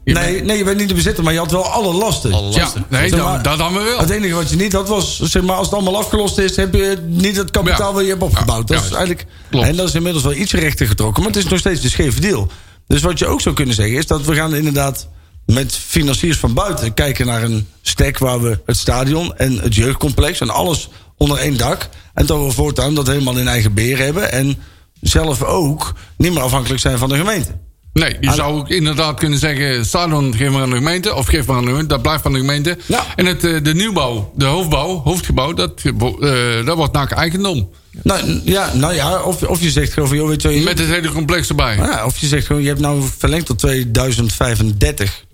Je bent- Nee, nee, je bent niet de bezitter, maar je had wel alle lasten. Alle ja, lastig. nee Zeg dan- maar- dat dan weer wel. Het enige wat je niet had was, zeg maar, als het allemaal afgelost is, heb je niet het kapitaal Ja. wat je hebt opgebouwd. Dat Ja, is ja. eigenlijk, Klopt. en dat is inmiddels wel iets rechter getrokken, maar het is nog steeds de scheve deal. Dus wat je ook zou kunnen zeggen is dat we gaan inderdaad met financiers van buiten kijken naar een stek waar we het stadion en het jeugdcomplex en alles onder één dak. En dat we voortaan dat helemaal in eigen beheer hebben en zelf ook niet meer afhankelijk zijn van de gemeente. Nee, je zou ook inderdaad kunnen zeggen... stadion geef maar aan de gemeente, of geef maar aan de gemeente. Dat blijft van de gemeente. Ja. En het, eh, de nieuwbouw, de hoofdbouw, hoofdgebouw... dat, gebo- eh, dat wordt NAC eigendom. Nou n- ja, nou ja of, of je zegt gewoon van joh, weet je wel, je- Met het hele complex erbij. Nou Ja, of je zegt gewoon, je hebt nou verlengd tot 2035.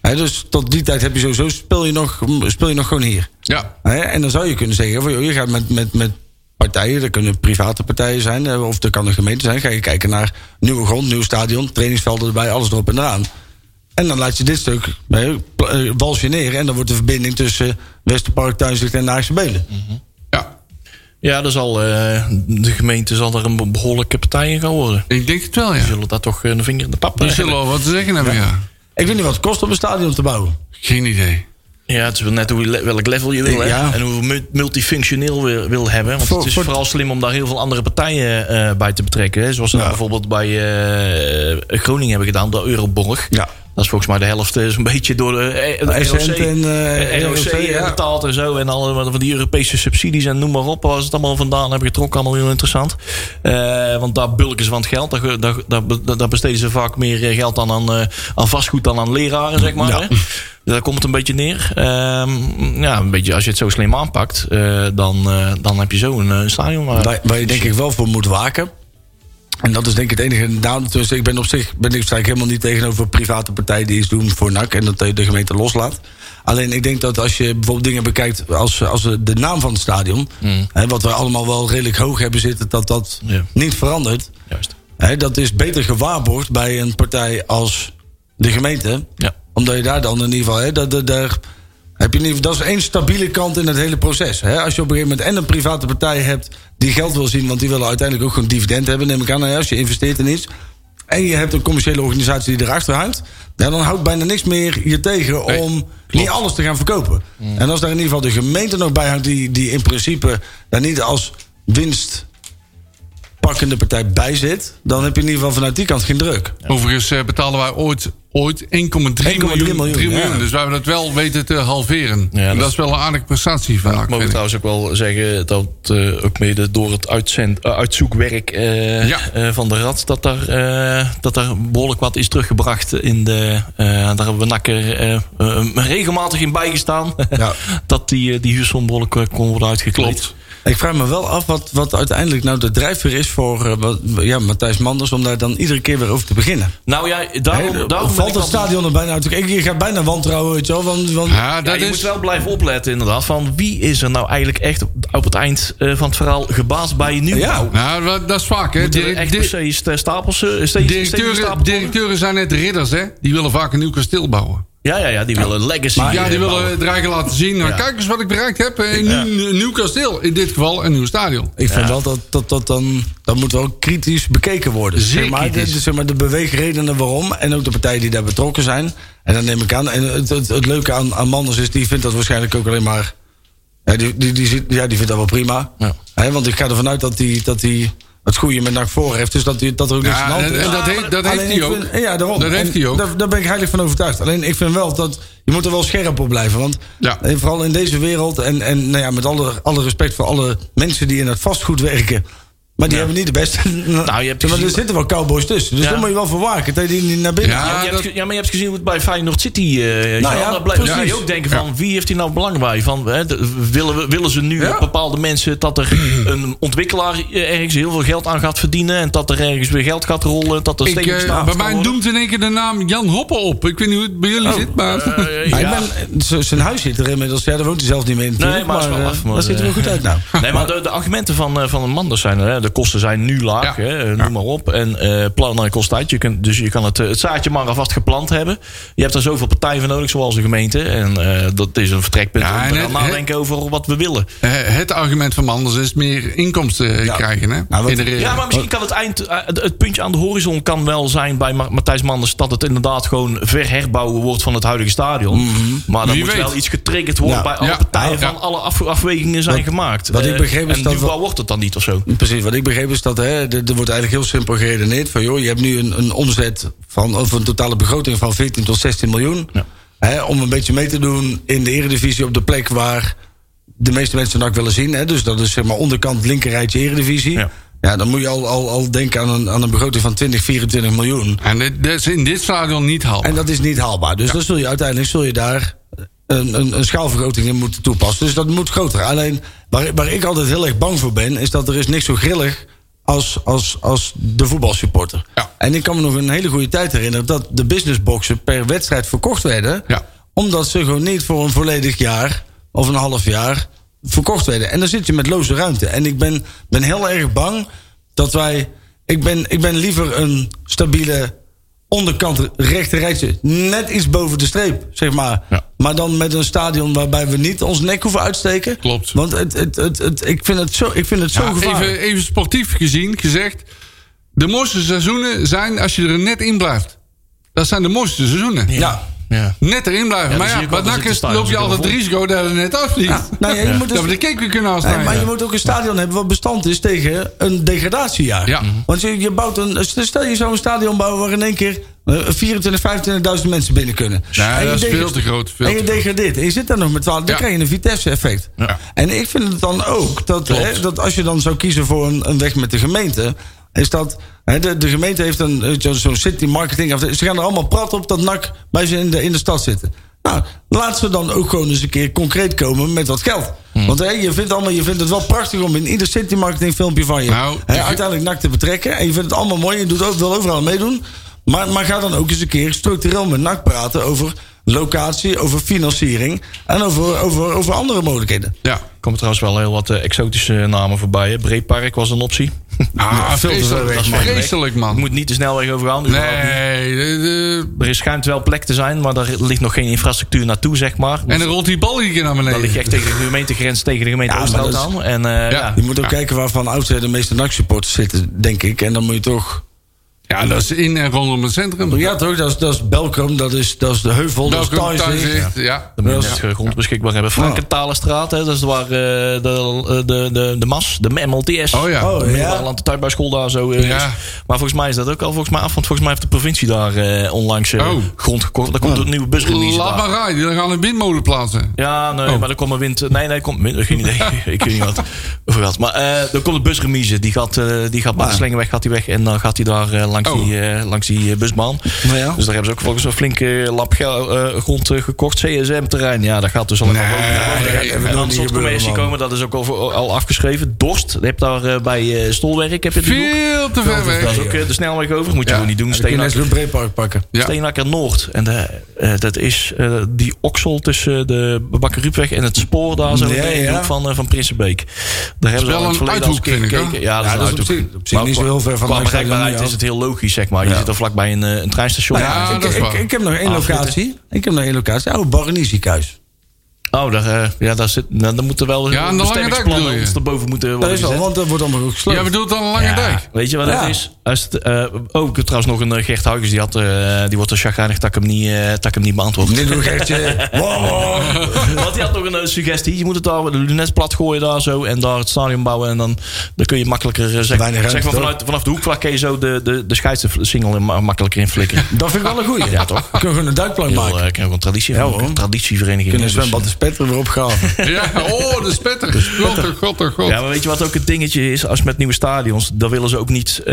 Hè, dus tot die tijd heb je sowieso, speel je nog, speel je nog gewoon hier. Ja. Hè, en dan zou je kunnen zeggen, van, joh, je gaat met, met, met partijen, dat kunnen private partijen zijn, eh, of dat kan een gemeente zijn, ga je kijken naar nieuwe grond, nieuw stadion, trainingsvelden erbij, alles erop en eraan. En dan laat je dit stuk hè, pla- eh, wals je neer en dan wordt de verbinding tussen Westerpark, Tuinzicht en Naagse Belen. ja. Ja, dat zal, eh, de gemeente zal er een be- behoorlijke partij in gaan worden. Ik denk het wel, ja. Die zullen daar toch eh, een vinger in de pap Die hebben. zullen wel wat te zeggen hebben, ja. Ik weet niet wat het kost om een stadion te bouwen. Geen idee. Ja, het is wel net hoe je le- welk level je wil hè? Ja. en hoe mu- multifunctioneel we wil hebben. Want Voor- het is voor- vooral slim om daar heel veel andere partijen eh, bij te betrekken. Hè? Zoals ze Ja. dat bijvoorbeeld bij eh, Groningen hebben gedaan, de Euroborg. Ja. Dat is volgens mij de helft eh, zo'n beetje door de, eh, de Nou, ROC, Essent en, eh, eh, ROC ROC, ja. betaald en zo. En alle van die Europese subsidies en noem maar op. Waar ze het allemaal vandaan hebben getrokken, allemaal heel interessant. Eh, want daar bulken ze van het geld. Daar, ge- daar, daar, be- daar besteden ze vaak meer eh, geld aan, aan, eh, aan vastgoed dan aan leraren, zeg maar. Ja. Hè? Daar komt het een beetje neer. Ehm, ja, een beetje, als je het zo slim aanpakt, eh, dan, eh, dan heb je zo een, eh, een stadion. waar- Waar, waar je denk ik wel voor moet waken. En dat is denk ik het enige nadeel. tussen. ik ben op zich ben ik eigenlijk helemaal niet tegenover private partijen die iets doen voor NAC en dat de de gemeente loslaat. Alleen ik denk dat als je bijvoorbeeld dingen bekijkt als, als de naam van het stadion, hè, wat we allemaal wel redelijk hoog hebben zitten, dat dat Ja. niet verandert. Juist. Hè, dat is beter gewaarborgd bij een partij als de gemeente. Ja. Omdat je daar dan in ieder geval. Hè, dat, dat, daar heb je in ieder geval- dat is één stabiele kant in het hele proces. Hè. Als je op een gegeven moment en een private partij hebt die geld wil zien, want die willen uiteindelijk ook gewoon dividend hebben, neem ik aan. Nou ja, als je investeert in iets. En je hebt een commerciële organisatie die erachter hangt. ja, dan houdt bijna niks meer je tegen Nee, om klopt. Mm. niet alles te gaan verkopen. En als daar in ieder geval de gemeente nog bij hangt, die, die in principe daar niet als winst pakkende partij bij zit, dan heb je in ieder geval vanuit die kant geen druk. Overigens eh, betalen wij ooit, ooit 1,3 miljoen. miljoen, 3 ja. miljoen. Dus wij hebben dat wel weten te halveren. Ja, en dat dat is- is wel een aardige prestatie van NAC, Mogen vind ik. we trouwens ook wel zeggen dat eh, ook mede door het uitzend, eh, uitzoekwerk eh, Ja. eh, van de Rad... Dat daar, eh, dat daar behoorlijk wat is teruggebracht. In de, eh, daar hebben we nakker eh, eh, regelmatig in bijgestaan. Ja. [laughs] dat die, eh, die huursom behoorlijk eh, kon worden uitgekleed. Klopt. Ik vraag me wel af wat, wat uiteindelijk nou de drijfveer is voor eh, wat- ja, Matthijs Manders om daar dan iedere keer weer over te beginnen. Nou ja, daarom, Hè, daarom ben ik valt het altijd- stadion er bijna uit. Ik, je gaat bijna wantrouwen, weet je wel. Want, want- Ja, Ja, dat je is... moet wel blijven opletten inderdaad. Van wie is er nou eigenlijk echt op, op het eind eh, van het verhaal gebaasd bij je nieuw? Ja. Nou, wat- dat is vaak, hè. Moeten er Direct- echt di- per se st- stapels, eh, steeds- steeds directeuren, stapels directeuren zijn net ridders, hè. Die willen vaak een nieuw kasteel bouwen. Ja, ja, ja, die willen legacy. ja, die eh, willen bouwen. het eigen laten zien. Nou, Ja. Kijk eens wat ik bereikt heb. eh, Een, Ja. nieuw, een nieuw kasteel. In dit geval een nieuw stadion. ik vind wel dat dat, dat dan, dat moet wel kritisch bekeken worden. Zeer Zeg maar, kritisch. De, zeg maar, de beweegredenen waarom en ook de partijen die daar betrokken zijn. En dan neem ik aan, en het, het, het leuke aan, aan Manders is, die vindt dat waarschijnlijk ook alleen maar... Ja, die, die, die, zit- ja, die vindt dat wel prima. Ja. Hè, want ik ga ervan uit dat hij dat die het goede met naar voren heeft. Dus dat, die, dat er ook niks aan de Ja, hand en, is. en dat, heeft, dat heeft Alleen hij ik ook. vind- ja, daarom. Dat heeft En hij ook. Daar, daar ben ik heilig van overtuigd. Alleen ik vind wel dat je moet er wel scherp op blijven. Want Ja. eh, vooral in deze wereld en, en nou ja, met alle, alle respect voor alle mensen die in het vastgoed werken. Maar die hebben niet de beste. hebt [laughs] Ja, maar er gezien- zitten wel cowboys tussen. Dus Ja. daar moet je wel voor waken. Dat je die niet naar binnen Ja, Ja, je hebt dat- ge- ja, maar je hebt gezien hoe het bij Feyenoord City... eh nou ja, ja, blijft precies. je ook denken van, Ja. wie heeft hier nou belang bij? Van, hè, de- willen, we, willen ze nu Ja. bepaalde mensen [clears throat] dat er een ontwikkelaar eh, ergens heel veel geld aan gaat verdienen... en dat er ergens weer geld gaat rollen, dat er Ik, steeds eh, bij mij noemt in één keer de naam Jan Hoppe op. Ik weet niet hoe het bij jullie Oh. Nou, zit, maar... eh, Maar ik ben- z- zijn huis zit er inmiddels. Ja, daar woont hij zelf niet meer in. natuurlijk, maar is wel eh, af, maar, dat ziet er wel eh, goed uit [laughs] nou. Nee, maar de, de argumenten van, eh, van een Manders zijn er. Hè. De kosten zijn nu laag, Ja. hè, eh, noem maar op. En eh plannen kost tijd. Je kunt, dus je kan het, eh, het zaadje maar alvast geplant hebben. Je hebt er zoveel partijen voor nodig, zoals de gemeente. En eh, dat is een vertrekpunt Ja, om en te gaan het- nadenken over wat we willen. [laughs] Eh, het argument van Manders is meer inkomsten eh, krijgen, hè? Nou, wat- Genereren. Ja, maar misschien kan het, eind, eh, het het puntje aan de horizon kan wel zijn bij Ma- Matthijs Manders... dat het inderdaad gewoon verherbouwen wordt van het huidige stadion. Maar dan Wie moet weet. wel iets getriggerd worden Ja. bij alle Ja. partijen... Ja. van alle af- afwegingen zijn Wat- gemaakt. wat ik Eh, begreep is en dat nu we- wordt het dan niet of zo. Precies, wat ik begreep is dat hè, er er wordt eigenlijk heel simpel geredeneerd van joh, je hebt nu een, een omzet van of een totale begroting van 14 tot 16 miljoen. Ja. Hè, om een beetje mee te doen in de eredivisie op de plek waar de meeste mensen NAC willen zien. Hè, dus dat is zeg maar onderkant linkerrijtje eredivisie. Ja. Ja. dan moet je al, al, al denken aan een, aan een begroting van 20, 24 miljoen. En dit, dat is in dit stadion niet haalbaar. En dat is niet haalbaar. Dus dan zul je uiteindelijk zul je daar een, een, een schaalvergroting in moeten toepassen. Dus dat moet groter. Alleen waar, waar ik altijd heel erg bang voor ben, is dat er is niks zo grillig als, als, als de voetbalsupporter. Ja. En ik kan me nog een hele goede tijd herinneren dat de businessboxen per wedstrijd verkocht werden. Ja. Omdat ze gewoon niet voor een volledig jaar of een half jaar verkocht werden. En dan zit je met loze ruimte. En ik ben, ben heel erg bang dat wij. Ik ben, ik ben liever een stabiele onderkant rechter rijtje. Net iets boven de streep, zeg maar. Ja. Maar dan met een stadion waarbij we niet ons nek hoeven uitsteken. Klopt. Want het, het, het, het- ik vind het zo, ik vind het zo Ja, gevaarlijk. even, even sportief gezien, gezegd... De mooiste seizoenen zijn als je er net in blijft. Dat zijn de mooiste seizoenen. Ja. ja. Net erin blijven. Ja, maar dus ja, hier bij komt het NAC in is- te staan, loop je dus altijd het ik risico dat het net afvliegt. Nou, ja, je moet dus- Dat we de cake weer kunnen Nee, afsnijden. maar je moet ook een stadion hebben wat bestand is tegen een degradatiejaar. Ja. Want je, je bouwt een. Stel je zou een stadion bouwen waar in één keer eh, 24, 25.000 mensen binnen kunnen. Nee, En je dat is degre- veel te groot, veel en je te groot. degradeert. En je zit daar nog met 12. Dan Ja. krijg je een Vitesse-effect. Ja. En ik vind het dan ook dat, Klopt. hè, dat als je dan zou kiezen voor een, een weg met de gemeente. Is dat. hè, de, de gemeente heeft een, eh, zo- zo'n city marketing. af- Ze gaan er allemaal prat op dat NAC bij ze in de, in de stad zitten. Nou, laat ze dan ook gewoon eens een keer concreet komen met wat geld. Hmm. Want hè, je, vindt allemaal, je vindt het wel prachtig om in ieder city marketing filmpje van je Nou, hè, ik- uiteindelijk nak te betrekken. En je vindt het allemaal mooi. Je doet ook, wil overal aan meedoen. Maar, maar ga dan ook eens een keer structureel met NAC praten over locatie, over financiering en over, over, over andere mogelijkheden. Ja. Er komen trouwens wel heel wat eh, exotische namen voorbij. Hè. Breedpark was een optie. [laughs] Ah, vreselijk, Dat is ver weg. vreselijk Het man. moet niet de snelweg overgaan. überhaupt niet. Nee, de- de- Er is schijnt wel plek te zijn, maar daar ligt nog geen infrastructuur naartoe, zeg maar. en dan rolt die bal iedere keer naar dat ligt beneden. echt tegen de gemeentegrens, tegen de gemeente Ja, maar Oosthout dat aan. En, eh, ja. Je moet ook kijken waar van oudsher de meeste NAC-supporters zitten, denk ik. En dan moet je toch... Ja, dat is in en rondom het centrum. Ja, toch? Dat is, dat is Belkom, dat is, dat is de heuvel, dat, Welkom is thuis. thuiszicht, ja. Dan moet je net eh, grond beschikbaar hebben. Frankentalenstraat, hè, dat is waar eh, de, eh, de, de, de MAS, de MLTS. Oh ja. Oh, De ja. Middelland de tuinbouwschool daar zo. eh, Ja. is. Maar volgens mij is dat ook al volgens mij af. Want volgens mij heeft de provincie daar eh, onlangs eh, Oh. grond gekocht. Daar komt een nieuwe busrelease Laat maar daar. rijden, die gaan een windmolen plaatsen. Ja, Oh. nee, maar er komt een wind. Nee, nee, er komt wind. Geen [laughs] idee. ik weet niet wat. Over wat. Maar eh er komt een busremise. Die gaat, eh die gaat bij de slengenweg gaat die weg. En dan gaat hij daar eh, langs, Ah. Oh. die, eh, langs die eh, busbaan. Nou ja. Dus daar hebben ze ook volgens een flinke lap ge- eh, grond eh, gekocht. CSM-terrein. Ja, dat gaat dus allemaal. Nee, En dan soort eh, commercie komen, dat is ook al, al afgeschreven. Dorst, heb daar eh, bij eh Stolwerk heb je die hoek. veel te ver Dat is weg. ook eh, de snelweg over, moet je Ja, gewoon niet doen. Kun je net Steenakker, zo'n breedpark pakken. Ja. Steenakker Noord. En de, eh, dat is eh, die oksel tussen de Bakkeriepweg en het spoor daar zo Ja, in de ja. hoek van, eh, van Prinsenbeek. Daar hebben ze wel al in het een verleden al uithoek, eens een keer vind ik, gekeken. Ja, dat Ja, is dat een is op uithoek. zich- op zich Maar niet zo heel ver van Qua mijn bereikbaarheid stadion, is het heel logisch, zeg maar. Je zit er vlakbij een, eh, een treinstation. Ja, dat is ik, waar. ik heb nog één Afschieten. locatie. Ik heb nog één locatie. Oude Baronieziekhuis. Oh, daar, eh, ja, daar zit, nou, dan moeten wel Ja, aan de Lange Dijk bestemmingsplannen bedoel je? ons erboven moeten worden Dat is al, gezet. want dat wordt allemaal ook Jij gesloten. bedoelt dan Lange Ja, Dijk? Weet je wat het Ja. is? Als het, eh, oh, ik heb trouwens nog een eh, Gert Huygens. Die, had, eh, die wordt er chagrijnig dat ik hem niet, eh, dat ik hem niet beantwoord. Dit doe ik echt... [laughs] eh, wow, wow. Want die had nog een eh, suggestie. Je moet het daar de lunet plat gooien daar zo. En daar het stadion bouwen. En dan, dan kun je makkelijker... eh, Zeg, Weinig ruimte, zeg maar toch? vanuit, vanaf de hoekvlak kun je zo de, de, de scheidssingel in, ma- makkelijker in flikkeren. Dat vind ik wel een goeie. Ja, toch? Kunnen we gewoon een duikplank Heel, maken. eh, ik heb ook een traditie, Ja, van- hoor. een traditievereniging. Kunnen een hebben, zwembad de dus, spetter erop [laughs] gaan. Ja, oh, de spetter. God, oh, god, oh, eh, god. ja, maar weet je wat ook het dingetje is? Als met nieuwe stadions, dan willen ze ook niet eh,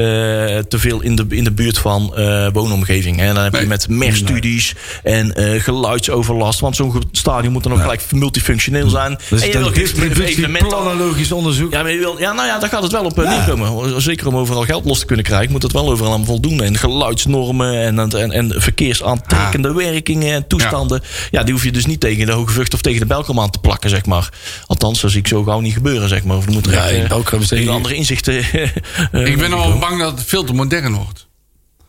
te veel in de, in de buurt van eh, woonomgeving. Hè? Dan heb je Nee. met merstudies en eh, geluidsoverlast. Want zo'n ge- stadion moet dan ook gelijk multifunctioneel zijn. Dus en je dat wil is geen evenementen planologisch onderzoek. Ja, maar je wil, ja, nou ja, daar gaat het wel op eh, neerkomen. Zeker om overal geld los te kunnen krijgen, moet het wel overal aan voldoen. En geluidsnormen en, en, en verkeersaantrekkende Ah. werkingen en toestanden. Ja. die hoef je dus niet tegen de hoge vucht of tegen de belkom aan te plakken, zeg maar. Althans, dat zie ik zo gauw niet gebeuren, zeg maar. Of er moet er Ja, echt, in eh, Belkom is het hele niet. andere inzichten. [laughs] eh, Ik ben al bang dat het veel te modern wordt.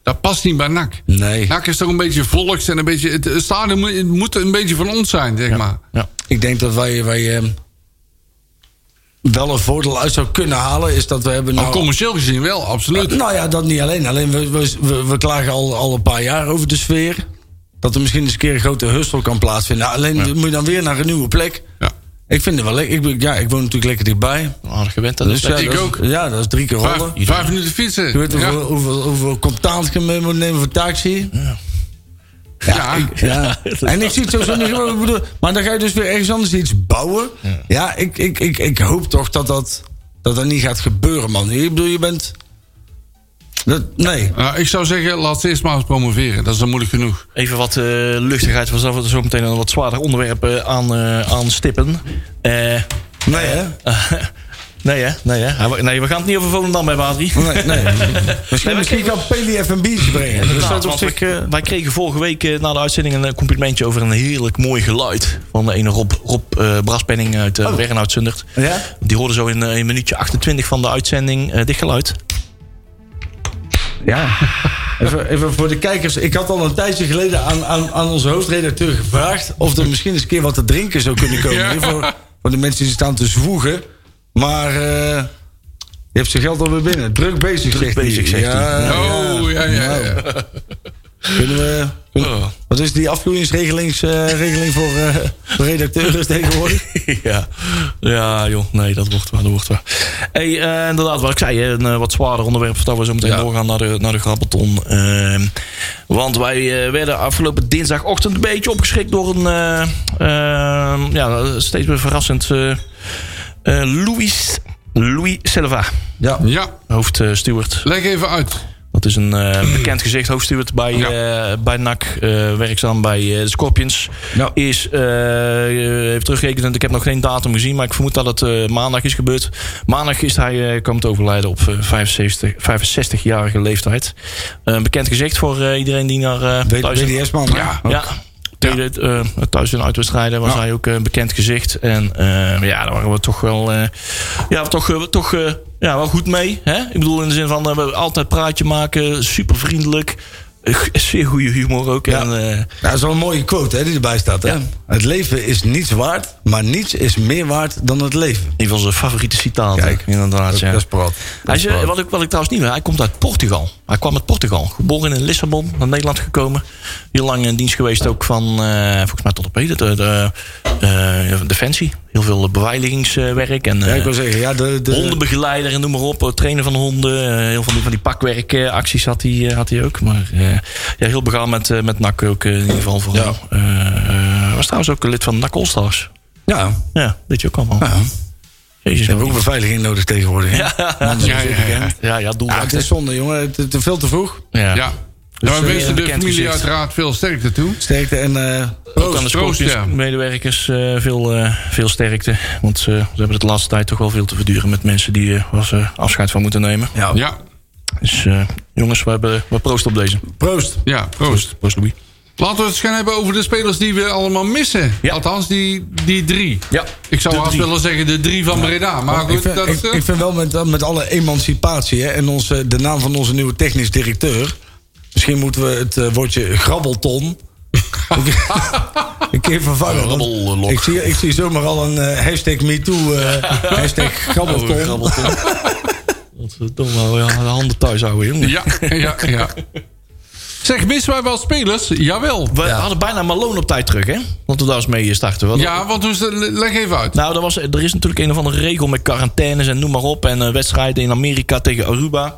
Dat past niet bij NAC. Nee. NAC is toch een beetje volks en een beetje... Het het stadion moet, het moet een beetje van ons zijn, zeg maar. ja. Ik denk dat wij, wij eh, wel een voordeel uit zou kunnen halen. Is dat we hebben Maar nou... commercieel gezien wel, absoluut. Nou ja, dat niet alleen. Alleen we, we, we- we klagen al, al een paar jaar over de sfeer. Dat er misschien eens een keer een grote hustle kan plaatsvinden. Nou, alleen moet je dan weer naar een nieuwe plek. Ja. Ik vind het wel lekker. Ik, ben- ja, ik woon natuurlijk lekker dichtbij. Aardig gewend. eh, Dat Dus ja, is ik dat is- ook. Ja, dat is drie keer Vijf, rollen. vijf minuten Je fietsen. weet Ja. hoeveel, hoeveel, hoeveel contant je mee moet nemen voor taxi. Ja. Ja. [laughs] En ik zie het sowieso niet gebeuren. Ik bedoel, Maar dan ga je dus weer ergens anders iets bouwen. Ja, ik, ik, ik, ik hoop toch dat dat, dat dat niet gaat gebeuren, man. Ik bedoel, je bent... Dat, nee. Nou, ik zou zeggen, laat ze eerst maar eens promoveren. Dat is dan moeilijk genoeg. Even wat eh, luchtigheid vanzelf. want er Zo meteen een wat zwaarder onderwerp eh, aan, eh, aanstippen. Eh, [laughs] Nee, hè? nee, hè? Nee, hè? Ah, we- Nee, we gaan het niet over Volendam hebben, Adrie. Nee, [laughs] nee. Misschien, misschien kan Peli even een biertje brengen. Dus dat Inderdaad, is op want zich... we- wij kregen vorige week eh, na de uitzending een eh, complimentje over een heerlijk mooi geluid. Van de ene Rob, Rob eh, Braspenning uit eh Wegenhout Zundert. Ja? Die hoorde zo in eh, een minuutje 28 van de uitzending eh, dit geluid. Ja. [laughs] Even, even voor de kijkers. Ik had al een tijdje geleden aan, aan, aan onze hoofdredacteur gevraagd... of er misschien eens een keer wat te drinken zou kunnen komen. Ja. Voor, voor de mensen die staan te zwoegen. Maar eh, je hebt zijn geld alweer binnen. Druk bezig, zegt hij. bezig, zegt hij. Oh, ja, ja, ja. Nou, Kunnen we... kunnen- Oh. Wat is die afvloeingsregeling regeling voor eh, voor redacteurs tegenwoordig? [laughs] ja. ja, joh. Nee, dat wordt waar. Dat wordt waar. Hey, eh, inderdaad, wat ik zei. hè, Een eh, wat zwaarder onderwerp voordat we zo meteen doorgaan naar de, naar de grabbelton. Ehm, want wij eh, werden afgelopen dinsdagochtend een beetje opgeschrikt door een... eh, ehm, ja, steeds weer verrassend... eh, eh, Louis... Louis Silva. Ja. Ja, hoofdsteward. leg even uit. Dat is een eh, bekend gezicht, hoofdsteward bij, eh, bij NAC, eh, werkzaam bij eh, de Scorpions. Ja. Is, eh even teruggerekend, ik heb nog geen datum gezien, maar ik vermoed dat het eh, maandag is gebeurd. Maandag is hij eh komen te overlijden op eh, 75 65-jarige leeftijd. Een bekend gezicht voor eh, iedereen die naar eh B- thuis in- BDS-man. hè? Ja. Ook. ja. Tweede, eh, thuis en uitwedstrijden was Ja. hij ook eh, een bekend gezicht. En eh, ja, daar waren we toch wel, eh, ja, toch, eh, toch eh, ja, wel goed mee. Hè? Ik bedoel, in de zin van eh, we altijd praatje maken, super vriendelijk. Zeer goede humor ook. En, eh, Ja, Nou, dat is wel een mooie quote hè, die erbij staat. Hè? Ja. Het leven is niets waard, maar niets is meer waard dan het leven. een van zijn favoriete citaten. Kijk, inderdaad. Dat, ja. dat is prat. Hij is, eh, wat, ik, wat ik trouwens niet weet, hij komt uit Portugal. Hij kwam uit Portugal. Geboren in Lissabon, naar Nederland gekomen. Heel lang in dienst geweest ook van, eh, volgens mij tot op heden, de, de, eh, Defensie. Heel veel eh, beveiligingswerk en Ja, eh, ik wil zeggen, ja, de, de, hondenbegeleider en noem maar op. eh, Trainen van honden. eh, heel veel van die pakwerkacties had hij, eh, had hij ook. Maar eh, ja, heel begaan met, eh, met NAC ook eh, in ieder geval. Voor ja. was trouwens ook lid van NAC Allstars. ja, Ja, weet je ook allemaal. ja. Jezus, Ze hebben ook man. beveiliging nodig tegenwoordig. hè? Want Ja, ja, ja. [laughs] ja, ja, ja, dus- doelwacht. het is zonde, jongen. Het, het- veel te vroeg. Ja. Ja. Dus, Nou, we eh, wensen de bekend familie gezicht. uiteraard veel sterkte toe. Sterkte en... eh, Ook aan de Proost, ja. Scorpions-medewerkers eh, veel, eh, veel sterkte. Want eh, ze hebben het de laatste tijd toch wel veel te verduren met mensen die eh, waar ze afscheid van moeten nemen. ja, Ja, Dus eh, jongens, we, hebben, we proosten op deze. proost. ja proost. Proost, Louis. Laten we het eens gaan hebben over de spelers die we allemaal missen. Ja. Althans, die, die drie. Ja, Ik zou de haast drie. Oh, willen zeggen de drie van Breda. Maar ik, goed, vind, dat ik, is... eh, ik vind wel met, met alle emancipatie hè, en onze, de naam van onze nieuwe technisch directeur. Misschien moeten we het eh, woordje grabbelton. een keer- een keer vervangen. want Grabbellok. Ik zie, ik zie zomaar al een eh, hashtag MeToo. eh hashtag Oh, Oh, grabbelton. [laughs] Domme, ja, de handen thuis houden, jongen. Ja, ja, [laughs] ja. Zeg, missen wij wel spelers? Jawel. We hadden bijna Malone op tijd terug, hè? Want we daar eens mee starten. We hadden- Ja, want dus, eh, le- leg even uit. Nou, dat was, er is natuurlijk een of andere regel met quarantaines en noem maar op. En eh, wedstrijden in Amerika tegen Aruba.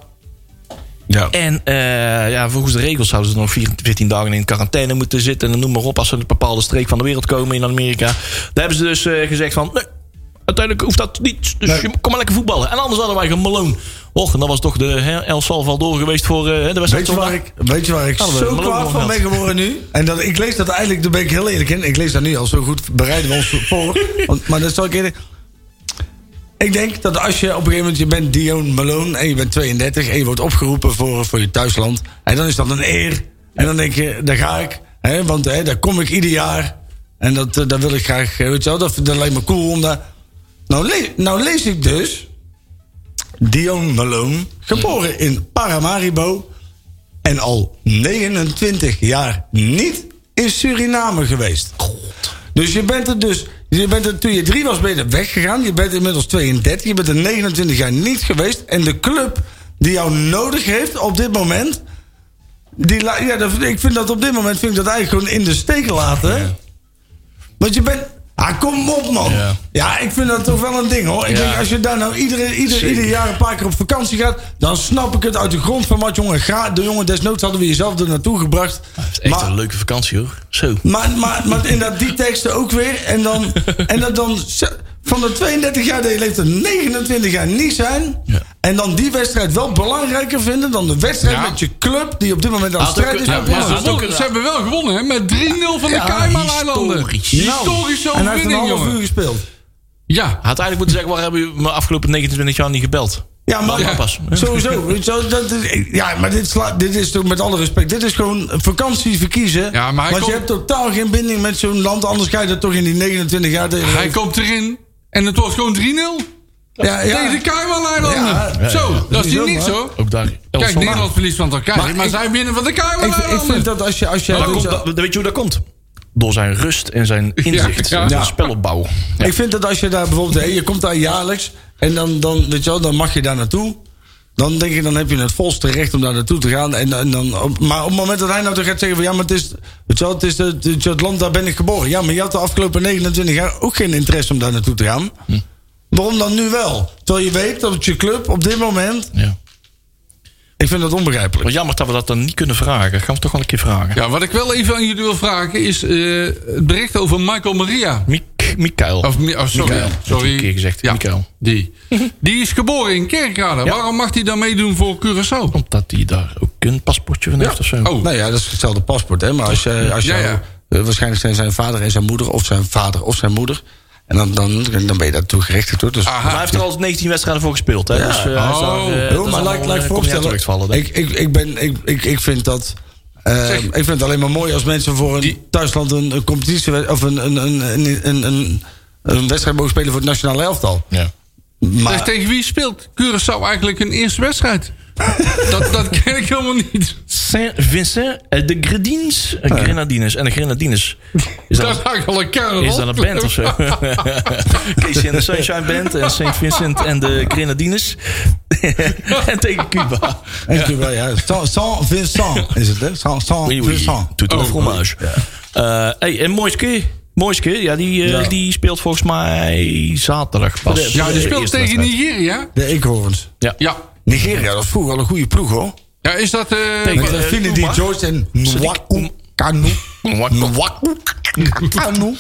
Ja. En eh, ja, volgens de regels zouden ze nog 14 14 dagen in quarantaine moeten zitten. En noem maar op, als ze uit een bepaalde streek van de wereld komen in Amerika. Daar hebben ze dus eh, gezegd van... Nee, uiteindelijk hoeft dat niet. Dus je kom maar lekker voetballen. En anders hadden wij gewoon Malone. Och, en dat was toch de hè, El Salvador geweest voor eh, de wedstrijd Weet je, van waar vandaag. ik, weet je waar ik Hadden we zo Malone kwaad nog van gehad. ben geworden [laughs] nu? En dat, ik lees dat eigenlijk, daar ben ik heel eerlijk in. Ik lees dat nu al zo goed, bereiden we ons voor. Want, maar dat zal ik eerlijk... Ik denk dat als je op een gegeven moment, je bent Dion Malone... en je bent 32 en je wordt opgeroepen voor, voor je thuisland... en dan is dat een eer. En dan denk je, daar ga ik. Hè, want hè, daar kom ik ieder jaar. En dat, eh, dat wil ik graag, eh, weet je wel, dat, dat lijkt me cool om daar... Nou, le- nou lees ik dus... Dion Malone, geboren in Paramaribo en al 29 jaar niet in Suriname geweest. Dus je bent er dus. Je bent er, toen je drie was, ben je er weggegaan. Je bent inmiddels 32. Je bent er 29 jaar niet geweest. En de club die jou nodig heeft op dit moment. Die, la- ja, dat- ik vind dat op dit moment vind ik dat eigenlijk gewoon in de steek laten. Want je bent. Ah, kom op, man. Ja. Ja. ik vind dat toch wel een ding, hoor. Ik Ja. denk, als je daar nou iedere, ieder, ieder jaar een paar keer op vakantie gaat... dan snap ik het uit de grond van wat, jongen. Ga, de jongen, desnoods hadden we jezelf er naartoe gebracht. Echt Maar- een leuke vakantie, hoor. Zo. maar, maar, maar inderdaad, die teksten ook weer. En dan, en dat dan z- van de 32 jaar dat je leeft, er 29 jaar niet zijn. Ja. En dan die wedstrijd wel belangrijker vinden dan de wedstrijd Ja. met je club, die op dit moment aan de Had ook- strijd is. ja, met maar Holland. dat is ook ze hebben wel gewonnen, hè? Met 3-0 van de Ja, Nou, Cayman-eilanden. historisch. Historische en hij heeft een overwinning, half uur jongen. gespeeld. Ja, Had eigenlijk moeten zeggen, waar hebben jullie me afgelopen 29 jaar niet gebeld? Ja, maar Ja, [laughs] pas. sowieso. weet je wel, dat is- ja, maar dit, sla- dit is toch met alle respect. Dit is gewoon vakantie verkiezen. Ja, maar hij want je komt- hebt totaal geen binding met zo'n land. Anders ga je dat toch in die 29 jaar... tegen- hij komt erin en het wordt gewoon 3-0. ja, ja. Tegen de Cayman-eilanden. Ja. Zo, Niet dat is hier ook, niks, hoor. hoor. Ook daar. El Kijk, Salvador. Nederland verliest van Turkije, maar, Maar ik- zij winnen van de Ik, ik vind Cayman-eilanden. dat als je... Als je Maar dat weet je komt, wel- dat, dat- weet je hoe dat komt? Door zijn rust en zijn [laughs] inzicht. ja. En zijn Ja. spelopbouw. Ja. Ik vind dat als je daar bijvoorbeeld, hè, je komt daar jaarlijks en dan, dan, weet je wel, dan mag je daar naartoe. Dan denk ik, dan heb je het volste recht om daar naartoe te gaan. En, en dan, op- maar op het moment dat hij nou toch gaat zeggen van ja, maar het is, weet je wel, het, is de- het, is het land, daar ben ik geboren. Ja, maar je had de afgelopen 29 jaar ook geen interesse om daar naartoe te gaan. Waarom dan nu wel? Terwijl je weet dat het je club op dit moment, Ja. ik vind dat onbegrijpelijk. Maar jammer dat we dat dan niet kunnen vragen. Gaan we toch wel een keer vragen. Ja, wat ik wel even aan jullie wil vragen is eh, het bericht over Michael Maria. Miek. Mik Mikael. Of, Mi- oh, sorry. Mikael. Heb ik sorry. een keer gezegd, Ja, Mikael. Die. die is geboren in Kerkrade. Waarom mag hij dan meedoen voor Curaçao? Omdat hij daar ook een paspoortje van heeft of zo. Oh, Nou ja, dat is hetzelfde paspoort, hè? Maar als je. Als je Ja, ja. eh, waarschijnlijk zijn zijn vader en zijn moeder, of zijn vader of zijn moeder. En dan, dan, dan ben je daartoe gerechtigd, hoor. Dus, Aha. Maar hij heeft er al 19 wedstrijden voor gespeeld. Hè? Dus, eh, hij is daar, eh, Oh. dat is Yo, maar allemaal, laat, laat eh, ik komt niet uit de voorstellen. lucht vallen, denk ik. ik, ik, ik, ben, ik, ik, ik vind dat. eh, Zeg. ik vind het alleen maar mooi als mensen voor een Die- thuisland een, een competitie of een, een, een, een, een, een, een wedstrijd mogen spelen voor het nationale elftal. Ja. Maar, Zeg, tegen wie speelt Curaçao eigenlijk een eerste [laughs] wedstrijd? dat, dat ken ik helemaal niet. Saint-Vincent eh, de Gredins. Eh, Grenadines. En de Grenadines is dan, Dat is eigenlijk al een carnaval. is dan een band of zo. [laughs] Casey en de Sunshine Band en Saint-Vincent en de Grenadines. [laughs] en tegen Cuba. en Cuba, ja. San, San Vincent is het, hè? San, San Oui, oui. Vincent. Tout Oh, au fromage. Eh, hey, en Moiske. Moiske, ja, die, eh, die speelt volgens mij zaterdag pas. Ja, die Eh, speelt eerste tegen wedstrijd. Nigeria. De eekhoorns. Ja. Nigeria, dat is vroeger al een goede ploeg, hoor. Ja, is dat... eh, Tegen- Met wa- uh, eh, Finley Nouma. D. George en Nwaku [laughs] Kanu. Nwaku Kanu.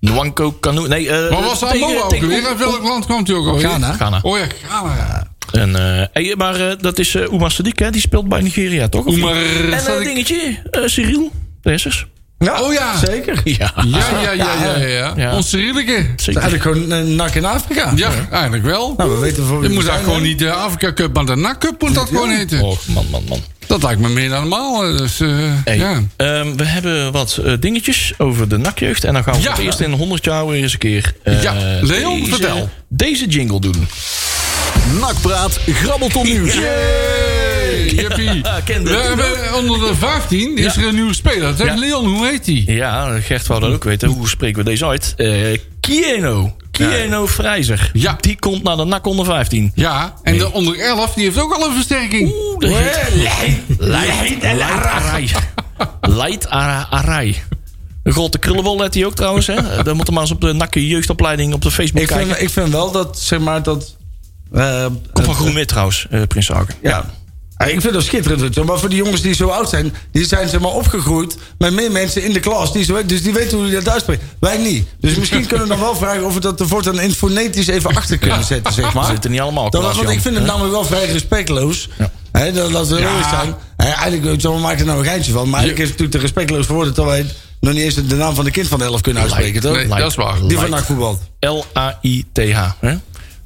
Nwanko Kanu. Nee, eh, maar was tegen- Amoa ook tegen- weer? Uit welk land komt hij ook alweer? Ghana. Ghana. Oh ja, Ghana. ja. En, eh, hey, maar eh, dat is eh Oemar Sadik, hè? Die speelt bij Nigeria, toch? Of Oemar niet? En een Sadiq. dingetje, eh, Cyril. De Hessers. Oh ja. Zeker. Ja. Ja, ja, ja, ja, ja. Ja. Onze Rielike. Het is Zeker. eigenlijk gewoon een nak in Afrika. Ja, eigenlijk wel. Nou, we weten voor wie Je we moet zijn, daar gewoon hè? niet de Afrika Cup, maar de NAC Cup moet dat gewoon heten. Och, man, man, man. Dat lijkt me meer dan normaal. eh, Dus, eh, Hey, ja. ehm, we hebben wat eh, dingetjes over de nakjeugd. En dan gaan we Ja. voor het eerst in 100 jaar weer eens een keer... eh, Ja, Leon, deze- vertel. Deze jingle doen. Nakpraat, grabbelton nieuws. Jippie. [laughs] Ja, kende We het toen hebben eh, onder de 15 is er een nieuwe speler. Zeg, Ja. Leon, hoe heet die? Ja, Gert wou dat ook weten. Hoe spreken we deze uit? Eh Kieno. Kieno Vrijzer. Ja. Die komt naar de NAC onder 15. Ja, en de onder 11 die heeft ook al een versterking. Oeh, dat [laughs] heet- Leidt Arai. Leidt Ara- Arai. Een grote krullenwol let hij ook trouwens. [laughs] Hè? Dan moet hem maar eens op de nakke jeugdopleiding op de Facebook Ik kijken. vind, ik vind wel dat, zeg maar, dat... eh, Komt van Groen Wit trouwens, eh, Prins Hagen. Ja. Ah, Ik vind dat schitterend. weet je wel. Maar voor die jongens die zo oud zijn... die zijn zeg maar opgegroeid met meer mensen in de klas. Die zo, dus die weten hoe je dat uitspreekt. Wij niet. Dus misschien kunnen we dan wel vragen... of we dat er voortaan in het fonetisch even achter kunnen zetten, zeg maar. [laughs] We zitten niet allemaal Dat, klas, want Jan. ik vind het namelijk wel vrij respectloos. Ja. Hè, dat, dat we eerlijk zijn. Hè, eigenlijk, weet je wel, we maken er nou een geintje van. Maar eigenlijk is het natuurlijk te respectloos voor woorden... dat wij nog niet eens de naam van de kind van de elf kunnen uitspreken, toch? Nee, dat is waar. Die van NAC voetbal. L-A-I-T-H. hè?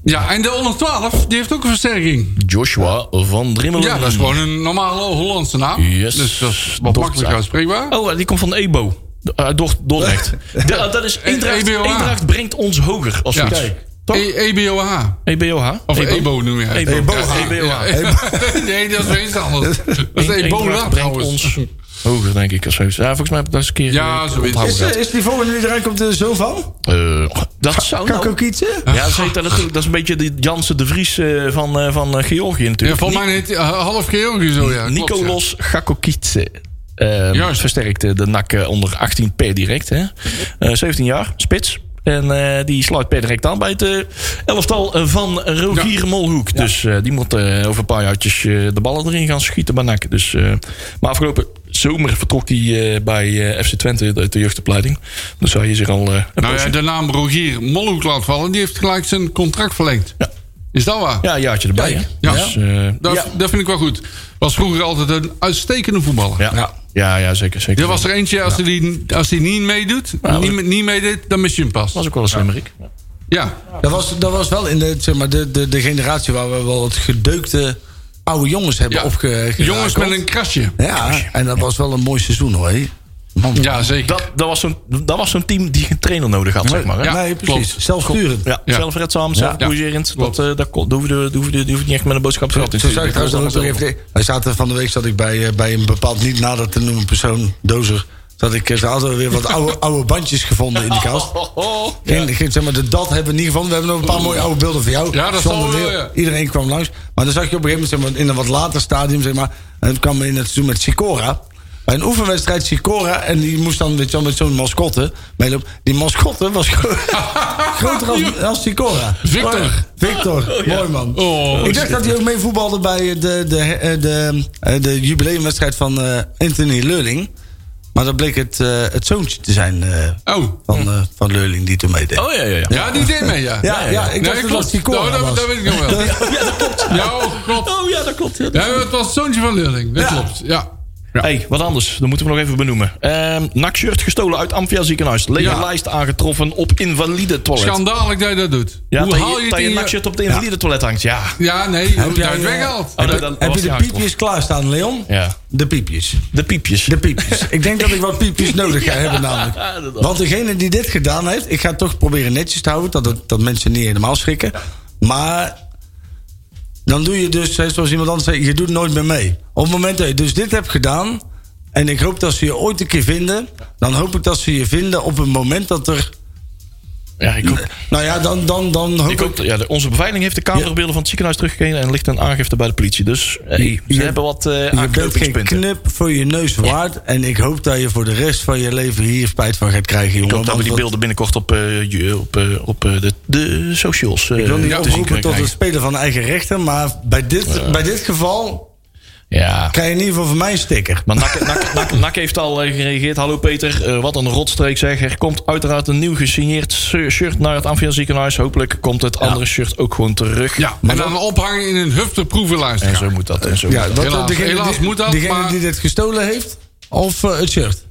Ja, en de onder 12 die heeft ook een versterking. Joshua van Drimmelen. Ja, dat is gewoon een normale Hollandse naam. Yes. Dus dat is wat Dordt- makkelijk uitspreekbaar. Oh, eh, die komt van Ebo. Uh, [laughs] Dordrecht. De- eh, dat is Eendracht, EBOH. Eendracht brengt ons hoger. Als E- Ja. zoiets. Toch? E- EBOH. EBOH? Of EBO noem je het. EBO. Ja, EBOH. Ja. [laughs] Nee, dat is weer iets [laughs] anders. Dat is Eén- Ebola Eendracht brengt trouwens. ons hoger, denk ik. Of zoiets. Ja, volgens mij heb ik dat eens een keer Ja, eh, zoiets. onthouden Is, gehad. eh, is die volgende die eruit komt er zo van? Eh, dat zou Kan ik nou... ook iets, hè? Ja, dat is, dat, natuurlijk- dat is een beetje de Jansen de Vries eh, van, eh, van eh, Georgië Ja, natuurlijk. volgens mij heet hij, eh, half Georgië zo, ja. klopt, ja. Nicolas Gakokitse. Eh, Juist. versterkte de NAC eh, onder 18 per direct. Hè? Eh, 17 jaar, spits. En eh, die sluit per direct aan bij het eh, elftal eh, van Rogier Molhoek. Dus eh, die moet eh, over een paar jaartjes eh, de ballen erin gaan schieten bij NAC. Dus, eh, maar afgelopen zomer vertrok hij eh, bij eh, FC Twente uit de jeugdopleiding. Dus hij is er al... eh, een Nou ja, poosje. de naam Rogier Molhoek laat vallen. Die heeft gelijk zijn contract verlengd. Is dat waar? ja, een jaartje erbij. hè? Ja. Dus, eh, Dat, dat vind ik wel goed. Was vroeger altijd een uitstekende voetballer. ja. Ja. ja, ja, zeker. zeker. Er was er eentje, als hij die- als hij niet meedoet, Nou, niet, niet meedeed, dan mis je hem pas. was ook wel een slimmerik. Ja, Dat was, dat was wel in de, zeg maar, de, de, de generatie waar we wel wat gedeukte oude jongens hebben ja. opge. jongens gerakeld. met een krasje. Ja, en dat was wel een mooi seizoen hoor. hè. Man. Ja, zeker. Dat, dat was zo'n dat was zo'n team die een trainer nodig had, zeg maar. Hè? Ja, nee, precies. klopt. Zelfsturend. Ja, Ja. zelfredzaam, zelfcorrigerend. Ja. dat, eh dat, kon- daar hoef je de- daar hoef je de- daar hoef je niet echt met een boodschap Zo te zou ik trouwens dan ook nog even. Wij zaten van de week zat ik bij, eh, bij een bepaald niet nader te noemen persoon, Dozer. Zat ik, eh, ze hadden weer wat [laughs] oude, oude bandjes gevonden in de kast. Oh, Geen, geen- zeg maar, de dat hebben we niet gevonden. We hebben nog een paar mooie oude beelden van jou. Ja, dat John zal de wel, Leeuw. ja. Iedereen kwam langs. Maar dan zag je op een gegeven moment zeg maar, in een wat later stadium, zeg maar. En het kwam in het seizoen met Sicora. Bij een oefenwedstrijd Sicora. En die moest dan weet je wel, met zo'n mascotte meelopen. Die mascotte was gewoon [laughs] groter als, als Sicora. Victor. Maar- Victor. Mooi man. Oh, Ik dacht dat hij ook mee voetbalde bij de, de, eh, de, eh, de jubileumwedstrijd van eh, Anthony Lurling. Maar dat bleek het, eh, het zoontje te zijn eh, Oh. van, eh, van Lurling die toen meedeed. Oh ja, ja, ja. Ja, die deed mee, ja. Ja, ja, ik dacht dat het die Cora Nou, dat, was. dat weet ik nog [laughs] wel. Ja, dat klopt. Ja, klopt. Oh ja, dat klopt. Ja, dat- Ja, het was het zoontje van Lurling. Dat Ja. klopt, ja. Hey, wat anders. Dat moeten we nog even benoemen. Ehm Nakshirt gestolen uit Amphia ziekenhuis. Lege Ja. lijst aangetroffen op invalide toilet. Schandalig dat je dat doet. Ja, Hoe dat haal je dat het in je je- nakshirt op de invalide toilet hangt. Ja. Ja, nee, je hebt jij, het eh, weggehaald. Oh, dan- dan Heb je was die de aangetroffen. piepjes klaarstaan, Leon? Ja. De piepjes. De piepjes. De piepjes. ik denk dat ik wat piepjes nodig ga hebben namelijk. [laughs] Ja, dat- Want degene die dit gedaan heeft, ik ga het toch proberen netjes te houden, dat, het- dat mensen niet helemaal schrikken. Maar dan doe je dus, hè, zoals iemand anders zei, je doet nooit meer mee. Op het moment dat je dus dit hebt gedaan, en ik hoop dat ze je ooit een keer vinden, dan hoop ik dat ze je vinden op het moment dat er. ja, ik hoop, Nou ja, dan, dan, dan hoop ik. ik hoop, ja, de- onze beveiliging heeft de camerabeelden van het ziekenhuis teruggekregen... en ligt een aangifte bij de politie. Dus hey, ze Je- hebben wat eh je bent geen aanknopingspunten. knip voor je neus waard. En ik hoop dat je voor de rest van je leven hier spijt van gaat krijken, jongen. Ik hoop dat we die Want beelden binnenkort op, eh, ju- op, eh, op eh, de, de socials eh, Ik wil niet te zien oproepen kunnen tot het krijgen. spelen van eigen rechter, maar bij dit, bij dit geval Ja. krijg je in ieder geval van mij een sticker. Maar Nak, Nak, Nak, Nak heeft al eh, gereageerd. Hallo Peter, eh, wat een rotstreek zeg. Er komt uiteraard een nieuw gesigneerd s- shirt naar het Amphia ziekenhuis. Hopelijk komt het andere shirt ook gewoon terug. Ja, en dan ophangen in een hufteproevenlijst. En zo moet dat. En zo Ja, moet dat, Helaas. eh, degene Helaas die, moet dat, Degene maar- die dit gestolen heeft, of eh, het [laughs] shirt.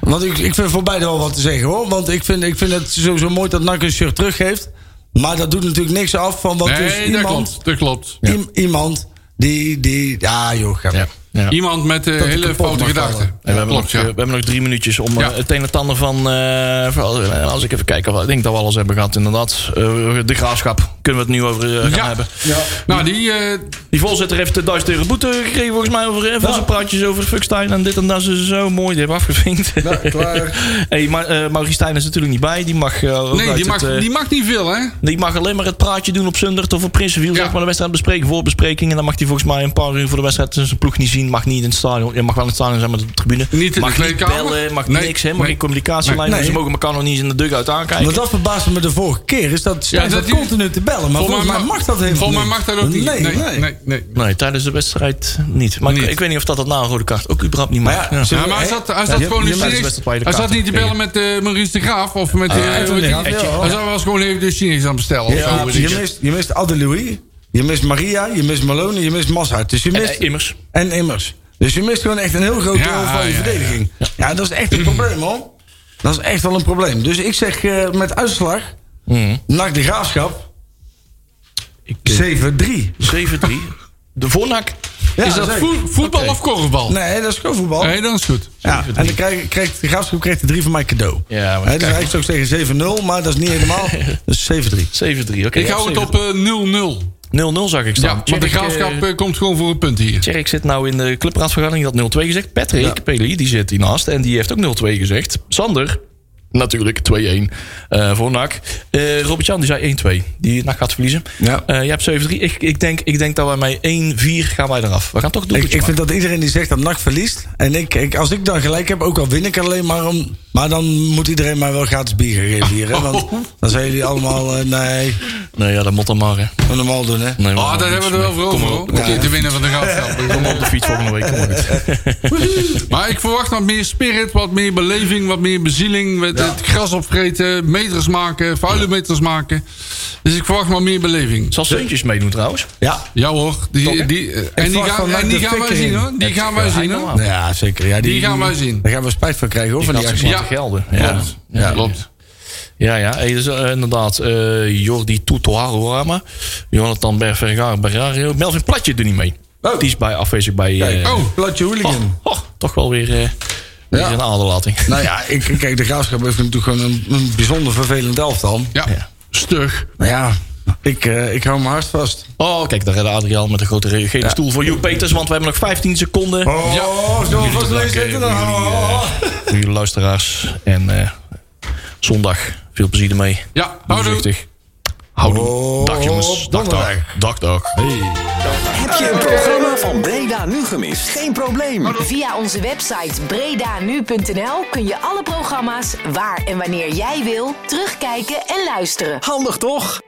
want ik, ik vind voor beide wel wat te zeggen hoor. Want ik vind, ik vind het sowieso mooi dat NAC een shirt teruggeeft. Maar dat doet natuurlijk niks af van wat dus Nee, dat iemand... klopt, dat klopt. iem- iemand die, die... Ja joh, ga dat. maar. Ja. Ja. Iemand met eh, hij hele kapot foute mag gedachten. vallen. En we, hebben klopt, nog, ja. eh, we hebben nog drie minuutjes om eh, Ja. het een en het ander van... eh, vooral- eh, als ik even kijk, of- ik denk dat we alles hebben gehad inderdaad. Eh, de graafschap, kunnen we het nu over eh, gaan Ja. hebben. Nou, die... eh, Die voorzitter heeft de 1000 euro boete gekregen volgens mij over eh, van zijn praatjes over Fuckstein en dit en dat. Ze zo mooi, die hebben afgevinkt. Ja, klaar. [laughs] hey, maar eh Mauristijn is natuurlijk niet bij. Die mag, eh, ook nee, uit die het, mag, eh, die mag niet veel, hè? die mag alleen maar het praatje doen op Zundert of op Prinsenwiel. Ja. Zeg maar de wedstrijd bespreken, voorbespreking. En dan mag hij volgens mij een paar uur voor de wedstrijd zijn ploeg niet zien. Mag niet in het stadion. Je mag wel in het stadion zijn, maar de tribune. Niet in de mag niet kleedkamer. bellen, mag Nee. niks. Hè, mag Nee. geen communicatielijn. Dus Nee. Ze mogen elkaar nog niet eens in de dugout aankijken. Want dat verbaasde me de vorige keer. Is dat Stijn dat zat die- continu te bellen. Maar volgens mij mag dat helemaal niet. Volgens mij mag dat ook niet. Nee, nee, nee. Nee, tijdens de wedstrijd niet. Maar Niet. Ik, ik weet niet of dat, dat na een rode kaart ook überhaupt niet mag. Maar ja, ze- [laughs] Ja, maar hij hè? zat, hij Ja, zat je- gewoon je niet maakt serieus. het beste bij de Hij kaart zat niet te bellen met eh Maurice de Graaf of met... eh, Anthony hoe de heet Graaf, die? Ah, ja. Hij zou wel eens gewoon even de Chinees aan bestellen. of Ja, zo, weet je, ik. mist, je mist Adelouis, je mist Maria, je mist Malone, je mist Mashart. Dus je En, mist, eh, immers. en Immers. Dus je mist gewoon echt een heel groot Ja, deel van je ja, verdediging. Ja. dat is echt een probleem, hoor. Dat is echt wel een probleem. Dus ik zeg eh, met uitslag, Mhm. NAC de Graafschap, Ik, 7-3. 7-3. De voornak. Ja, Is dat zeker. voet- voetbal Oké. of korfbal? Nee, dat is gewoon voetbal. Nee, dan is goed. ja, en dan krijg, krijgt de Graafschap krijgt de 3 van mij cadeau. Ja, maar Hè, dus kijk. eigenlijk zou ik zeggen 7-0, maar dat is niet [laughs] helemaal. Dus 7-3. 7-3, oké. Ik hou het op eh, 0-0. 0-0 zag ik Ja, staan. want de graafschap eh, komt gewoon voor een punt hier. Tjerk zit nou in de clubraadsvergadering, die had 0-2 gezegd. Patrick, Peli, die zit hiernaast en die heeft ook 0-2 gezegd. Sander, natuurlijk 2-1 eh, voor NAC. Eh, Robert-Jan, die zei 1-2. Die NAC gaat verliezen. Ja. Eh, jij hebt 7-3. Ik, ik, denk, ik denk dat wij met 1-4 gaan wij eraf. We gaan toch doen. Ik, ik vind dat iedereen die zegt dat NAC verliest. En ik, ik, als ik dan gelijk heb, ook al win ik alleen maar om. Maar dan moet iedereen mij wel gratis bier gaan geven hier. Hè? Want Oh. dan zijn jullie allemaal. eh, nee, Nee, ja, dat moet dan maar. Hè. we normaal doen hè. Nee, Ah, daar hebben we er wel voor over, hoor. Om die te winnen van de [laughs] graafschap. Kom op de fiets volgende week. Kom maar [laughs] goed. Maar ik verwacht wat meer spirit, wat meer beleving, wat meer bezieling. Met Het gras opvreten, meters maken, vuile meters maken. Dus ik verwacht wat meer beleving. Zal Seuntjes meedoen trouwens? Ja. Ja hoor, die, hè? die, eh, en die verwacht van gaan, Mike en die de gaan wij Fikker zien in. hoor. Die gaan wij ja, zien hij hoor. kan wel. Nou Ja, zeker. Ja, die, Oh. Die gaan wij zien. Daar gaan we spijt van krijgen hoor. Van die Dat actie. ze Ja. laten gelden. Ja. Klopt. Ja. Klopt. Ja, ja, hey, dus, eh, inderdaad. eh Jordi Tutoharama, Jonathan Berfergar Berrario. Melvin Platje doet niet mee. Oh. Die is bij, afwezig bij... eh Kijk, Oh. Platje hooligan. oh, oh, toch wel weer, eh, weer Ja. een aderlating. Nou ja, ik, kijk, de graafschap heeft natuurlijk gewoon een, een bijzonder vervelend elftal. Ja. Ja. Stug. Maar ja, ik, eh, ik hou mijn hart vast. [laughs] Oh, kijk, daar redde Adriaan met een grote re- gele stoel voor Joep Peters. Want we hebben nog 15 seconden. Oh, Ja. zullen we vast Jullie leuk bedanken zitten dan? voor jullie, Oh. eh, voor jullie luisteraars. En eh, zondag, veel plezier ermee. Ja, Doe houdoe. voorzichtig. Houdoe. dag jongens. Op Dag, dag. Oh, donderdag. Dag, dag. Heb je een programma van Breda nu gemist? Geen probleem. Via onze website bredanu.nl kun je alle programma's waar en wanneer jij wil terugkijken en luisteren. Handig toch?